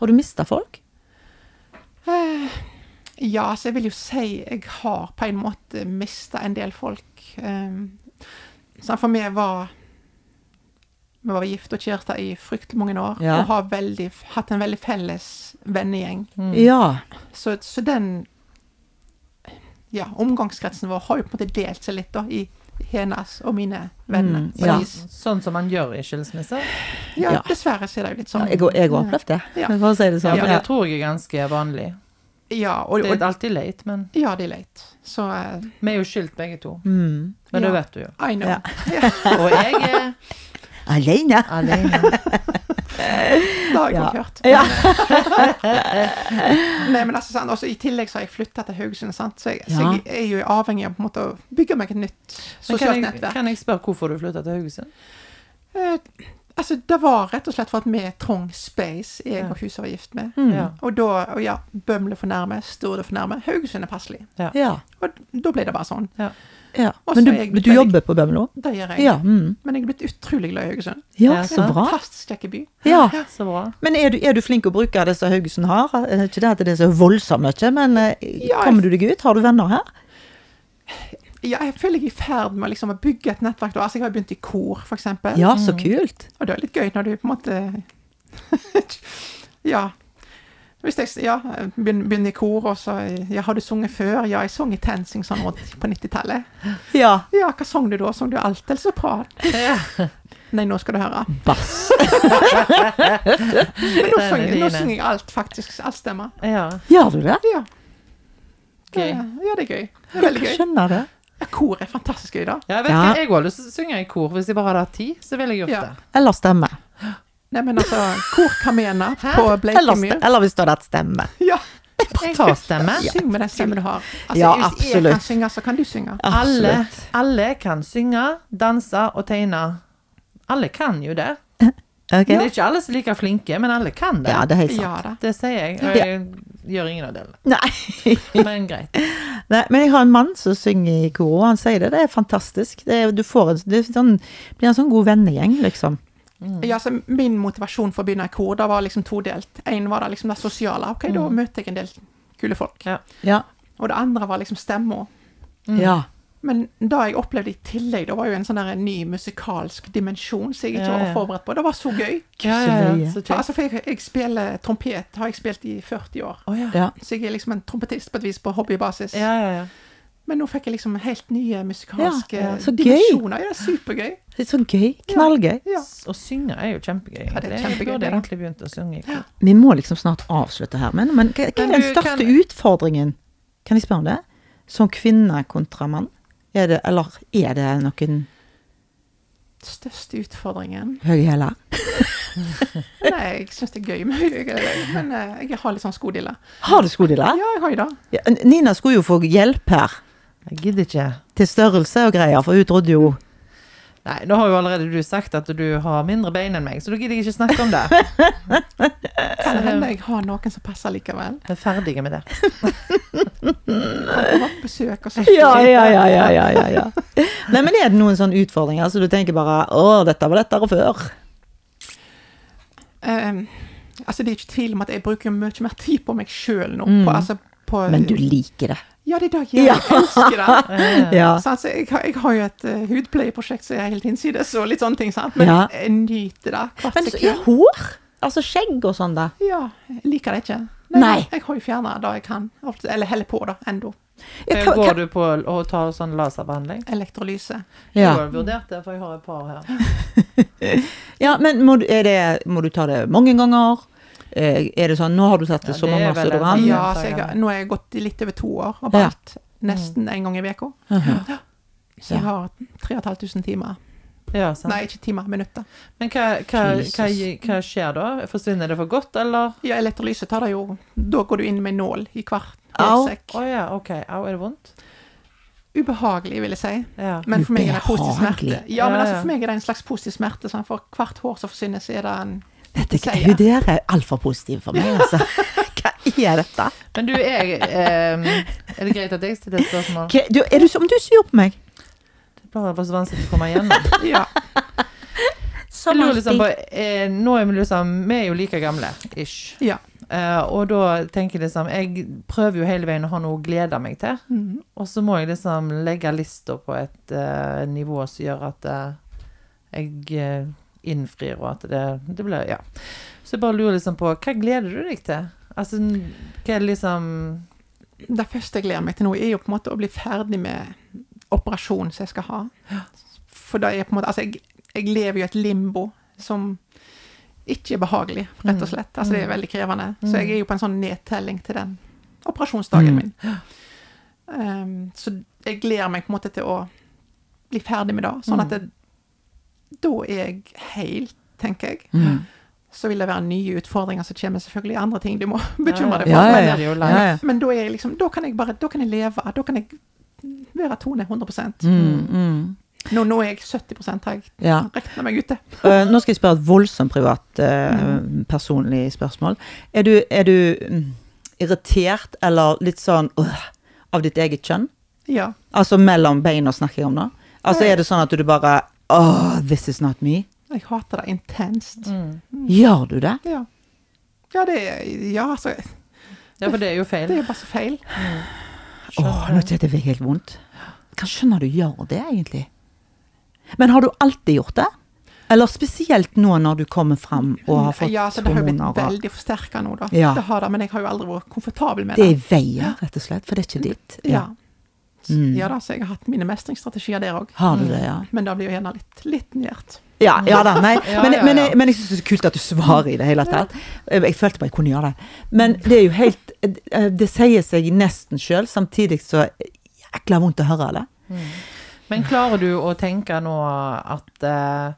S1: Har du mista folk?
S3: Eh, Ja, så jeg vil jo si jeg har på en måte mista en del folk. Eh, sånn for meg var Vi var gift og kjærester i fryktelig mange år
S1: Ja.
S3: og har veldig, hatt en veldig felles vennegjeng.
S2: Mm.
S1: Ja.
S3: Så, så den ja, omgangskretsen vår har jo på en måte delt seg litt da, i hennes og mine venner.
S1: Mm,
S3: på
S1: ja.
S3: vis.
S2: Sånn som man gjør i skilsmisse.
S3: ja,
S1: Ja.
S3: dessverre så er det jo litt
S1: ja
S3: sånn.
S1: jeg har opplevd det,
S3: Ja.
S1: for å si det
S2: Ja,
S1: sånn.
S2: for
S1: Ja.
S2: det tror jeg er ganske vanlig.
S3: Ja, og,
S2: Det er
S3: og,
S2: alltid leit, men
S3: ja, det er leit. Så eh,
S2: vi er jo skilt begge to.
S1: Mm.
S2: Men det
S3: Ja.
S2: vet du jo.
S3: I know.
S1: Ja.
S2: Og jeg er
S1: Alene.
S2: alene.
S3: Det har jeg
S1: Ja.
S3: nok hørt.
S1: Ja.
S3: Nei, men altså, sant, også I tillegg så har jeg flytta til Haugesund, sant? Så, jeg, så
S1: Ja.
S3: jeg er jo avhengig av på en måte, å bygge meg et nytt
S2: Men Kan
S3: sosialt
S2: jeg,
S3: nettverk.
S2: kan jeg spørre hvorfor du flytta til Haugesund?
S3: Eh, altså, det var rett og slett for at vi trong space, jeg og huset var gift med.
S2: Ja.
S3: Og da og ja, Bømle for nærme, Stord er for nærme, Haugesund er passelig.
S1: Ja.
S3: Og da ble det bare sånn.
S2: Ja.
S1: ja.
S3: Og
S1: Men
S3: så
S1: du,
S3: er jeg
S1: du
S3: veldig-
S1: jobber på Bømlo?
S3: Det gjør jeg.
S1: Ja. Mm.
S3: Men jeg er blitt utrolig glad i Haugesund.
S1: Ja,
S2: Ja,
S1: så
S2: sant.
S1: bra.
S3: Fantastisk kjekk by.
S1: Ja.
S2: Så bra.
S1: Men er du, er du flink å bruke det som Haugesund har? Eh, Ikke det at det er så voldsomt mye, men eh,
S3: Ja, jeg-
S1: kommer du deg ut? Har du venner her?
S3: Ja, jeg føler jeg er i ferd med å liksom, å bygge et nettverk. da. Altså, jeg har begynt i kor, for eksempel.
S1: Ja, så kult.
S3: Og det er litt gøy når du på en måte Ja. Hvis jeg ja, begynner, begynner i kor, og så ja, 'Har du sunget før?' Ja, jeg sang i TenSing sånn rundt på 90-tallet.
S1: Ja.
S3: Ja, hva sang du da? Sang du alt eller sopran? Nei, nå skal du høre.
S1: Bass.
S3: Men nå
S2: Den er
S3: sang jeg- nå
S2: dine.
S3: synger jeg alt, faktisk. Alt stemmer.
S2: Ja.
S1: Gjør du det?
S3: Ja.
S2: Gøy.
S3: Ja, ja, det er gøy. Det er veldig
S1: Jeg
S3: gøy.
S1: skjønner det.
S3: Ja, kor er fantastisk gøy, da.
S2: Ja, jeg vet
S1: Ja.
S2: ikke, jeg har lyst til å synge i kor. Hvis jeg bare hadde hatt tid, så ville jeg gjort
S3: Ja.
S2: det.
S1: Eller stemme.
S3: Nei, men altså, Kor Kamena på
S1: Eller, st-
S3: Bleikemyr.
S1: eller hvis det hadde hatt stemme.
S3: Ja.
S2: Jeg tar stemme.
S3: Syng med den stemmen du har. Altså,
S1: Ja,
S3: hvis jeg kan
S1: absolutt.
S3: synge, så kan du synge.
S2: Alle,
S1: Absolutt.
S2: alle kan synge, danse og tegne. Alle kan jo det.
S1: Ok?
S2: Det er ikke alle som er like flinke, men alle kan det.
S1: Ja, det er helt sant.
S3: Ja da.
S2: Det sier jeg, og jeg gjør ingen av delene.
S1: Nei.
S2: Men greit.
S1: Nei, men jeg har en mann som synger i kor, og han sier det. Det er fantastisk. Det, er, du får en, det er sånn, blir en sånn god vennegjeng, liksom.
S3: Ja, så min motivasjon for å begynne i kor da var liksom todelt. En var da liksom det sosiale. Ok, da møter jeg en del kule folk.
S2: Ja.
S1: Ja. Mm.
S3: Og det andre var liksom stemma.
S1: Ja.
S3: Men det jeg opplevde i tillegg, det var jo en sånn der en ny musikalsk dimensjon som jeg ikke
S2: Ja,
S3: var
S2: ja.
S3: forberedt på. Det var så gøy.
S2: Ja, ja, ja. Så
S3: For,
S2: kjekt.
S3: altså, for jeg, jeg spiller trompet, har jeg spilt i 40 år.
S2: Å, ja.
S1: Ja.
S3: Så jeg er liksom en trompetist på et vis på hobbybasis.
S2: Ja, ja, ja.
S3: Men nå fikk jeg liksom helt nye musikalske
S1: Ja, ja. Så gøy.
S3: dimensjoner. Ja, det er supergøy.
S1: Det er så gøy. Knallgøy.
S3: Ja.
S2: S- Å synge er jo kjempegøy.
S3: Ja, det er
S2: egentlig.
S3: kjempegøy,
S2: Jeg burde
S3: det da.
S2: egentlig begynt å synge. i kor.
S1: Vi må liksom snart avslutte her, men, men hva, hva er
S3: Men
S1: den
S3: du
S1: største
S3: kan-
S1: utfordringen? Kan jeg spørre om det? Som kvinne kontra mann? Er det, eller er det noen
S3: Største utfordringen
S1: høye hæler?
S3: Nei, jeg syns det er gøy med høye men eh, jeg har litt sånn skodille.
S1: Har du skodilla?
S3: Ja, jeg har jo det.
S1: Ja, Nina skulle jo få hjelp her,
S2: Jeg gidder ikke.
S1: til størrelse og greier, for hun trodde jo
S2: Nei, nå har jo allerede du sagt at du har mindre bein enn meg, så da gidder jeg ikke snakke om det.
S3: Kan
S1: Eh.
S3: hende jeg har noen som passer likevel.
S2: Vi er ferdige med det.
S3: Jeg har på besøk og så
S1: Ja, ja, ja, ja, ja, ja, ja. Nei, men er det noen sånne utfordringer, så du tenker bare å, dette var lettere før?
S3: Ehm, altså, det er ikke tvil om at jeg bruker mye mer tid på meg sjøl nå.
S1: Mm.
S3: På, altså, på,
S1: Men du liker det.
S3: Ja, det er det jeg gjør. Jeg elsker det.
S1: Ja.
S3: Så altså, jeg, har, jeg har jo et uh, hudpleieprosjekt som er helt hinsides, og litt sånne ting, sant? men
S1: Ja.
S3: jeg nyter det hvert
S1: Men så, ja,
S3: sekund.
S1: hår? Altså skjegg og sånn, da?
S3: Ja, jeg liker det ikke.
S1: Nei.
S3: Jeg har jo fjerna det jeg kan, ofte, eller heller på det ennå.
S1: Ja, hva- hva-
S2: Går du på å ta sånn laserbehandling?
S3: Elektrolyse.
S2: Jeg
S1: ja.
S2: har vurdert det, for jeg har et par her.
S1: ja men må, du- er det, må du ta det mange ganger? Eh, Er det sånn Nå har du tatt det
S2: Ja,
S1: så
S2: det er
S1: mange år
S2: vel
S1: som du
S2: en-
S1: kan?
S3: Ja,
S2: sa
S3: så jeg,
S2: jeg.
S3: har- nå har jeg gått i litt over to år og
S1: Ja.
S3: valgt nesten en gang i uka.
S1: Mhm.
S3: Så jeg har 3500 timer.
S2: Ja, sant.
S3: Nei, ikke timer, minutter.
S2: Men hva, hva, hva,
S1: Jesus.
S2: hva skjer da? Forsvinner det for godt, eller?
S3: Ja, elektrolyse tar det jo Da går du inn med nål i hver
S1: Au.
S2: Å
S3: hårsekk.
S2: ja, OK. Au, er det vondt?
S3: Ubehagelig, vil jeg si.
S2: Ja.
S3: Men for meg er det en positiv smerte.
S1: Ubehagelig.
S3: Ja, men
S2: Ja,
S3: altså
S2: ja.
S3: for meg er det en slags positiv smerte. Sånn. For hvert hår som forsvinner, så er det en
S1: Dette, hun der er altfor positiv for meg, altså. Hva er dette?
S2: Men du, jeg ehm, Er det greit at jeg stiller et spørsmål?
S1: Hva, du, er du som du sur på meg?
S2: Det bare var så vanskelig å komme igjennom.
S3: Ja.
S2: Jeg lurer liksom på eh, Nå er vi liksom Vi er jo like gamle, ish.
S3: ja.
S2: Eh, og da tenker jeg liksom Jeg prøver jo hele veien å ha noe å glede meg til. Og så må jeg liksom legge lista på et eh, nivå som gjør at eh, jeg eh, innfrir, og at det, det blir Ja. Så jeg bare lurer liksom på Hva gleder du deg til? Altså, n- hva er det liksom
S3: Det første jeg gleder meg til nå, er jo på en måte å bli ferdig med operasjonen som jeg skal ha. For det er på en måte Altså, jeg, jeg lever jo i et limbo som ikke er behagelig, rett
S1: Mm.
S3: og slett. Altså, det er veldig krevende. Så jeg er jo på en sånn nedtelling til den
S1: Mm.
S3: operasjonsdagen min. Um, så jeg gleder meg på en måte til å bli ferdig med det,
S1: Mm.
S3: sånn at det, da er jeg heil, tenker jeg.
S1: Mm,
S3: Så vil det være nye utfordringer som kommer, selvfølgelig andre ting du må bekymre deg for.
S1: Ja, ja,
S3: men-
S1: ja.
S2: Det er jo
S1: Ja, ja.
S3: men da, er jeg liksom, da kan jeg bare da kan jeg leve. Da kan jeg være Tone 100
S1: Mm, mm.
S3: nå, nå er jeg 70 har jeg
S1: Ja.
S3: regna meg ute.
S1: Eh, nå skal jeg spørre et voldsomt privat, eh,
S2: Mm.
S1: personlig spørsmål. Er du, er du mm, irritert eller litt sånn øh, av ditt eget kjønn?
S3: Ja.
S1: Altså mellom beina snakker jeg om nå. Altså er det sånn at du bare Åh, this is not me.
S3: Jeg hater det intenst.
S1: Mm. Gjør du det?
S3: Ja. ja, det er Ja, altså
S2: Ja, for det er jo feil.
S3: Det er bare så feil.
S1: Åh, nå kjente jeg det fikk helt vondt. Hva skjønner du gjør det, egentlig? Men har du alltid gjort det? Eller spesielt nå når du kommer fram og har fått
S3: ja, så det har jo blitt
S1: hormoner og
S3: veldig forsterka nå, da.
S1: Ja.
S3: Det har det, men jeg har jo aldri vært komfortabel med
S1: Det
S3: det.
S1: er veier, rett og slett, for det er ikke ditt.
S3: Ja. Så-
S1: Mm.
S3: ja da, så jeg har hatt mine mestringsstrategier der òg.
S1: Har du det, ja?
S3: Men det blir jo gjerne litt, litt nært.
S1: Ja, ja da, nei.
S2: Ja,
S1: Men,
S2: ja,
S1: men,
S2: ja.
S1: jeg- men jeg syns det er kult at du svarer i det hele tatt. Jeg følte bare jeg kunne gjøre det. Men det er jo helt eh, Det sier seg nesten sjøl, samtidig så jækla vondt å høre det.
S2: Mm. Men klarer du å tenke nå at eh,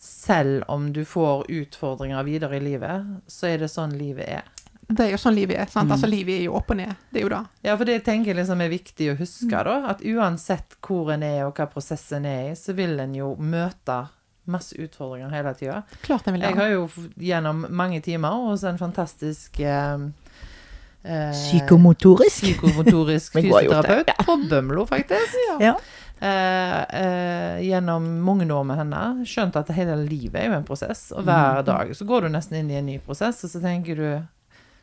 S2: selv om du får utfordringer videre i livet, så er det sånn livet er?
S3: Det er jo sånn livet er. sant?
S1: Mm.
S3: Altså, Livet er jo opp og ned. Det er jo det.
S2: Ja, for det tenker jeg liksom er viktig å
S1: Mm.
S2: huske, da. At uansett hvor en er, og hva prosess en er i, så vil en jo møte masse utfordringer hele tida.
S3: Klart jeg vil
S2: Jeg
S3: det.
S2: har jo f- gjennom mange timer hos en fantastisk eh, eh,
S1: Psykomotorisk.
S2: Psykomotorisk
S1: Men god har gjort
S2: fysioterapeut på Bømlo, faktisk.
S1: Ja.
S2: Eh, eh, gjennom mange år med henne skjønt at hele livet er jo en prosess,
S1: Mm.
S2: og hver dag så går du nesten inn i en ny prosess, og så tenker du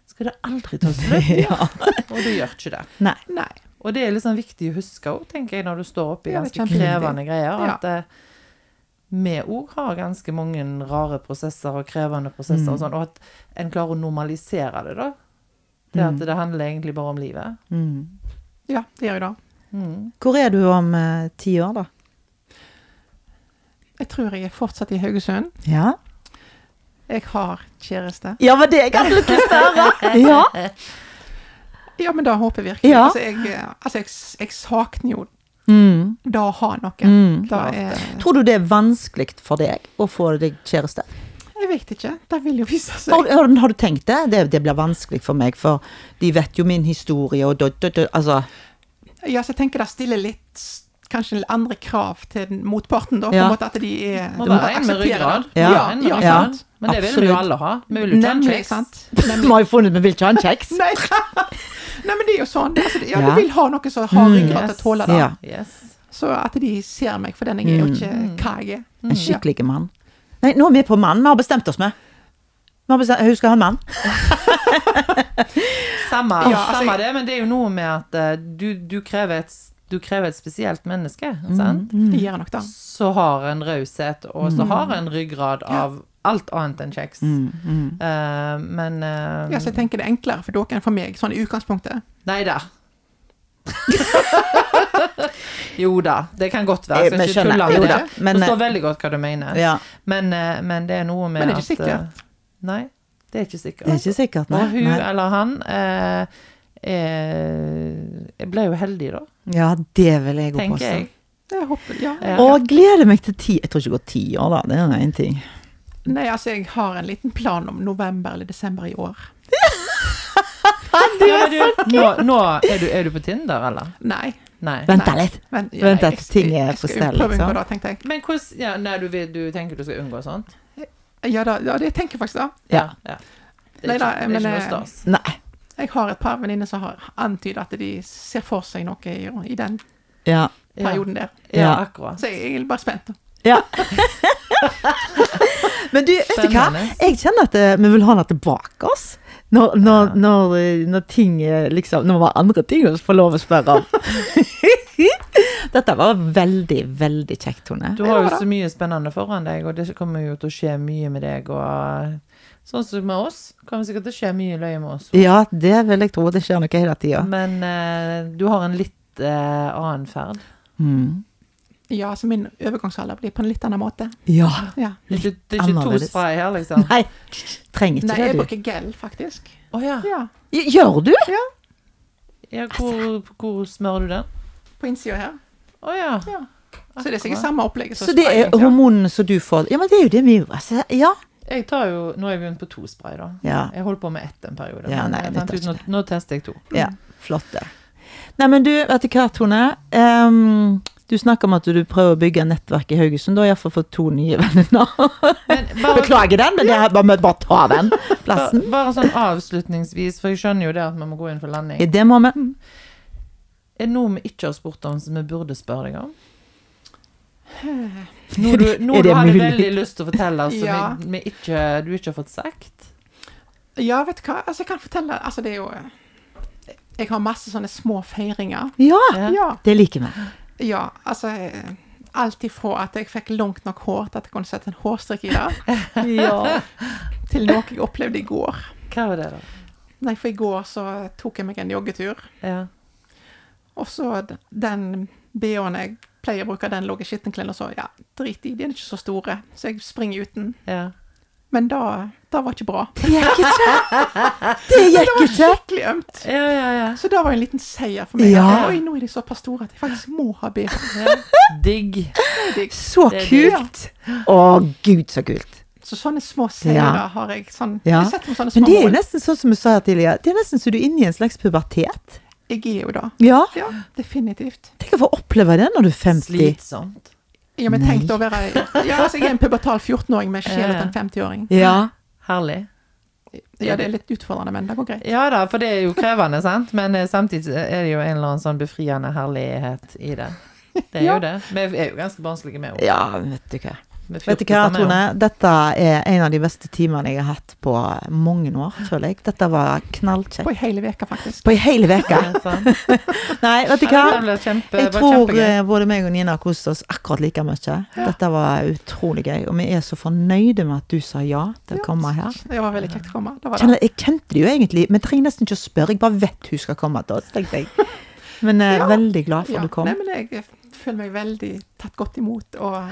S2: skal det aldri ta slutt?
S1: Ja.
S2: Og det gjør ikke det.
S1: Nei.
S3: Nei.
S2: Og det er litt sånn viktig å huske òg, tenker jeg, når du står oppi
S3: Ja, det
S2: ganske
S3: er kjempeviktig.
S2: krevende greier. At eh, vi òg har ganske mange rare prosesser og krevende prosesser
S3: Mm.
S2: og sånn. Og at en klarer å normalisere det, da. Det at
S3: Mm.
S2: det handler egentlig bare om livet.
S1: Mm.
S3: Ja, det gjør jeg da.
S2: Mm.
S1: Hvor er du om eh, ti år, da?
S3: Jeg tror jeg er fortsatt i Haugesund.
S1: Ja,
S3: Jeg har kjæreste.
S1: ja var det jeg hadde lyst til å høre! Ja.
S3: Ja, men da håper jeg virkelig.
S1: Ja.
S3: Altså, jeg, eh, altså jeg, s- jeg sakner jo
S1: Mm.
S3: da å ha noen.
S1: Mm.
S3: Da er
S1: Tror du det er vanskelig for deg å få deg kjæreste?
S3: Jeg vet ikke. Det vil jo vise seg.
S1: Har, har, har du tenkt det? det? Det blir vanskelig for meg, for de vet jo min historie og dø, dø, dø, altså
S3: Ja, så jeg tenker det stiller litt s- kanskje litt andre krav til den motparten, da. På
S1: Ja.
S3: en måte at de er
S2: Må
S3: de
S2: være en med
S3: akseptere
S2: ryggrad.
S3: det.
S1: Ja.
S3: Ja,
S2: En med
S3: ja,
S1: Ja.
S3: sant.
S2: Men det vil vi jo
S1: Absolutt.
S2: alle ha. Vi vil jo ikke ha en
S3: Nemlig,
S2: kjeks.
S3: sant.
S1: Vi har jo funnet ut vi vil ikke ha en kjeks.
S3: Nei. Nei, men det er jo sånn. Altså, ja,
S1: Ja. Mm.
S3: Du vil ha noe som har ryggrad til å
S2: Yes.
S3: tåle det.
S1: Ja.
S2: Yes.
S3: Så at de ser meg for den jeg er, og ikke
S1: Mm.
S3: hva jeg er.
S1: En skikkelig mann. Nei, nå er vi på mann. Vi har bestemt oss med. Vi har bestemt, hun skal ha en mann.
S2: Samme,
S3: Ja, altså,
S2: samme
S3: jeg-
S2: det, men det er jo noe med at eh, du, du, krever, et, du krever et spesielt menneske.
S3: Mm.
S2: Sant?
S1: Mm.
S3: Det gjør jeg nok da.
S2: Så har en raushet, og så har en ryggrad av alt annet enn kjeks.
S1: Mm,
S2: Eh, men uh,
S3: Ja, så jeg tenker det er enklere for dere enn for meg, sånn i utgangspunktet.
S2: Nei da. jo da, det kan godt være.
S1: Eh,
S2: Jeg skal
S1: men
S2: ikke
S1: skjønner,
S2: tulle med
S1: jo
S2: det.
S1: da, men,
S2: Forstår
S1: eh,
S2: veldig godt hva du mener.
S1: Ja.
S2: Men, eh, men det er noe med
S3: Men det er
S2: at
S3: ikke
S2: eh, Nei, det er ikke sikkert.
S1: Det er ikke sikkert, nei.
S2: Og hun
S1: nei.
S2: eller han eh, eh, jeg ble jo heldig, da,
S1: Ja, det vil jeg òg
S2: tenker
S1: påstå.
S2: jeg.
S3: Jeg håper, ja.
S2: Ja.
S1: Og gleder meg til ti Jeg tror ikke det går ti år, da. Det er én ting.
S3: Nei, altså, jeg har en liten plan om november eller desember i år.
S2: Ja, men du, nå, nå er, du, er du på Tinder, eller?
S3: Nei.
S2: Nei.
S1: Vent da
S3: Nei.
S1: litt.
S3: Men,
S1: Vent
S3: nei,
S1: at ting er på
S3: jeg skal jo
S1: stell,
S3: prøve å
S1: liksom.
S3: unngå det, tenkte jeg.
S2: Men hvordan ja, Nei, du, vil- du tenker du skal unngå sånt?
S3: Ja, da, ja, det tenker jeg faktisk da.
S1: Ja.
S2: ja. Det er
S3: Nei,
S2: ikke, det
S3: da,
S2: er
S3: men,
S2: ikke noe
S3: eh,
S2: stas.
S1: Nei.
S3: Jeg har et par venninner som har antydet at de ser for seg noe i, i den
S1: Ja.
S2: Ja,
S3: perioden der.
S2: ja,
S1: Ja.
S2: akkurat.
S3: Så jeg, jeg er bare spent.
S1: ja. Men du, vet du hva?
S2: Spennende.
S1: Jeg kjenner at eh, vi vil ha det tilbake oss. Når, når, når, eh, når ting eh, liksom Når vi har andre ting å få lov å spørre om. Dette var veldig, veldig kjekt, Tone.
S2: Du har jo så mye spennende foran deg, og det kommer jo til å skje mye med deg. Og sånn som med oss, kommer sikkert til å skje mye løye med oss.
S1: Ja, det vil jeg tro. Det skjer noe hele tida.
S2: Men eh, du har en litt eh, annen ferd.
S1: Mm.
S3: Ja, så min overgangsalder blir på en litt annen måte.
S1: Ja.
S3: Ja.
S2: Det er ikke, det er ikke to
S1: annerledes.
S2: spray her, liksom.
S1: Nei, trenger
S3: Nei,
S1: ikke
S3: jeg
S1: det, du.
S3: bruker gel, faktisk.
S2: Å ja.
S3: Ja,
S1: Gjør du?
S2: ja hvor, hvor smører du den?
S3: på innsida her.
S2: Å ja.
S3: Ja. Så det er sikkert samme opplegget som
S1: Så det er
S3: spraying, ja.
S1: hormonene som du får Ja, men det er jo det vi altså, Ja.
S2: Jeg tar jo, nå er jeg begynt på to spray, da.
S1: Ja.
S2: Jeg holdt på med ett en periode.
S1: Ja,
S2: men
S1: nei,
S2: jeg
S1: det
S2: fant
S1: tar
S2: ut, nå, nå tester jeg to.
S1: ja flott, det. Nei, men du, vet du hva, Tone? Ehm, du snakker om at du prøver å bygge nettverk i Haugesund. Du har iallfall fått to nye venner.
S2: Men bare,
S1: Beklager den, men det er bare, bare ta den plassen.
S2: bare, bare sånn avslutningsvis, for jeg skjønner jo det at vi må gå inn for landing.
S1: Det må vi.
S2: Er det noe vi ikke har spurt om som vi burde spørre deg om? Noe du, noe
S1: Er
S2: du
S1: det
S2: hadde
S1: mulig?
S2: veldig lyst til å fortelle altså, som
S3: Ja.
S2: vi, vi ikke, du ikke har fått sagt?
S3: Ja, vet du hva? Altså, jeg kan fortelle Altså, det er jo eh, Jeg har masse sånne små feiringer.
S1: Ja,
S2: Ja.
S3: Ja.
S1: det liker vi.
S3: ja altså eh, Alt ifra at jeg fikk langt nok hår til at jeg kunne sette en hårstrikk i det,
S1: Ja.
S3: til noe jeg opplevde i går.
S2: Hva var det, da?
S3: Nei, for i går så tok jeg meg en joggetur,
S2: Ja.
S3: og så d- den BH-en jeg pleier å bruke, den lå i skittenklærne, og så ja, drit i, de er ikke så store, så jeg springer uten.
S2: ja.
S3: Men da, da var ikke bra.
S1: Det gikk ikke. Det gikk ikke.
S3: Skikkelig ømt.
S2: Ja, ja, ja.
S3: Så det var en liten seier for meg.
S1: Ja.
S3: Oi, nå er de såpass store at jeg faktisk må ha BH.
S2: ja. Digg.
S1: Så
S2: Det er
S1: kult. Å, gud, så kult.
S3: Så sånne små seier
S1: Ja.
S3: da har jeg sånn
S1: Ja.
S3: Jeg setter meg sånne
S1: Men
S3: små
S1: det er jo
S3: mål.
S1: nesten sånn som vi sa her tidligere, det er nesten så du er inne i en slags pubertet.
S3: Jeg er jo da.
S1: Ja.
S3: Ja, definitivt.
S1: Tenk å få oppleve det når du er 50.
S2: Slitsomt.
S3: Ja, men
S1: Nei.
S3: tenk da å være Ja, altså, jeg er en pubertal 14-åring med sjel
S2: Ja.
S3: etter en 50-åring.
S1: Ja.
S2: Herlig.
S3: Ja, det er litt utfordrende, men det går greit.
S2: Ja da, for det er jo krevende, sant? Men eh, samtidig er det jo en eller annen sånn befriende herlighet i det. Det er
S3: Ja.
S2: jo det. Vi er jo ganske barnslige, vi òg.
S1: ja, vet du hva.
S2: med
S1: Vet du
S2: 14
S1: hva,
S2: stemmer, jo.
S1: Tone? Dette er en av de beste timene jeg har hatt på mange år, føler jeg. Dette var
S3: På
S1: knallkjekt.
S3: ei hele veke, faktisk.
S1: På ei hel uke.
S2: Ja, sant.
S1: Nei, vet du hva?
S2: Ja, det ble kjempe,
S1: Jeg
S2: var
S1: tror
S2: kjempegøy.
S1: eh, både meg og Nina har kost oss akkurat like mye. Dette var utrolig gøy, og vi er så fornøyde med at du sa ja til å komme her.
S3: Det var veldig kjekt å komme. Det var det.
S1: Kjenner, jeg kjente det jo egentlig, men trenger nesten ikke å spørre. Jeg bare vet hun skal komme til oss, tenkte jeg. Men jeg er
S3: Ja.
S1: veldig glad for at du kom.
S3: Nei, men jeg føler meg veldig tatt godt imot, og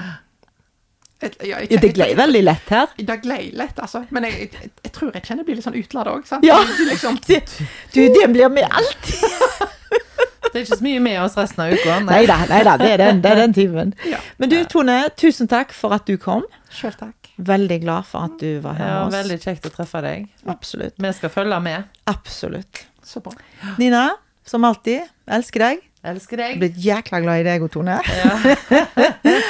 S3: jeg, ja, jeg,
S1: Ja, det gled veldig lett her.
S3: jeg- Det glei litt, altså. Men jeg, jeg, jeg tror jeg kjenner jeg blir litt sånn utladd òg.
S1: Ja.
S3: Liksom,
S1: Det, du, det blir med alt.
S2: Det er ikke så mye med oss resten av uka.
S1: Nei da, nei da, det er den, det er den timen.
S3: Ja.
S1: Men du Tone, tusen takk for at du kom.
S3: Sjøl takk.
S1: Veldig glad for at du var her
S2: Ja,
S1: med
S2: veldig
S1: oss.
S2: kjekt å treffe deg.
S1: Absolutt.
S2: Vi skal følge med.
S1: Absolutt.
S3: Så bra.
S1: Nina, som alltid, elsker deg.
S2: Elsker
S1: Jeg
S2: deg.
S1: er blitt jækla glad i deg og Tone.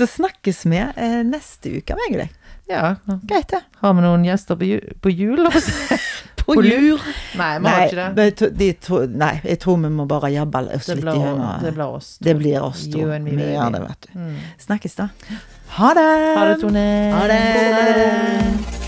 S1: Så snakkes vi eh, neste uke, meg og deg.
S2: Ja.
S1: Greit, det.
S2: Har vi noen gjester på ju- på jul? altså?
S1: På lur.
S2: Nei, vi har
S1: Nei,
S2: ikke det.
S1: men to- de to, nei, jeg tror vi må bare jabbe oss
S2: Det
S1: litt i
S2: blir,
S1: hendene.
S2: det blir oss.
S1: Det blir oss to.
S2: You and me,
S1: Vi
S2: baby. Mm.
S1: gjør det, vet du. Snakkes da. Ha det!
S2: Ha det, Tone.
S1: Ha det!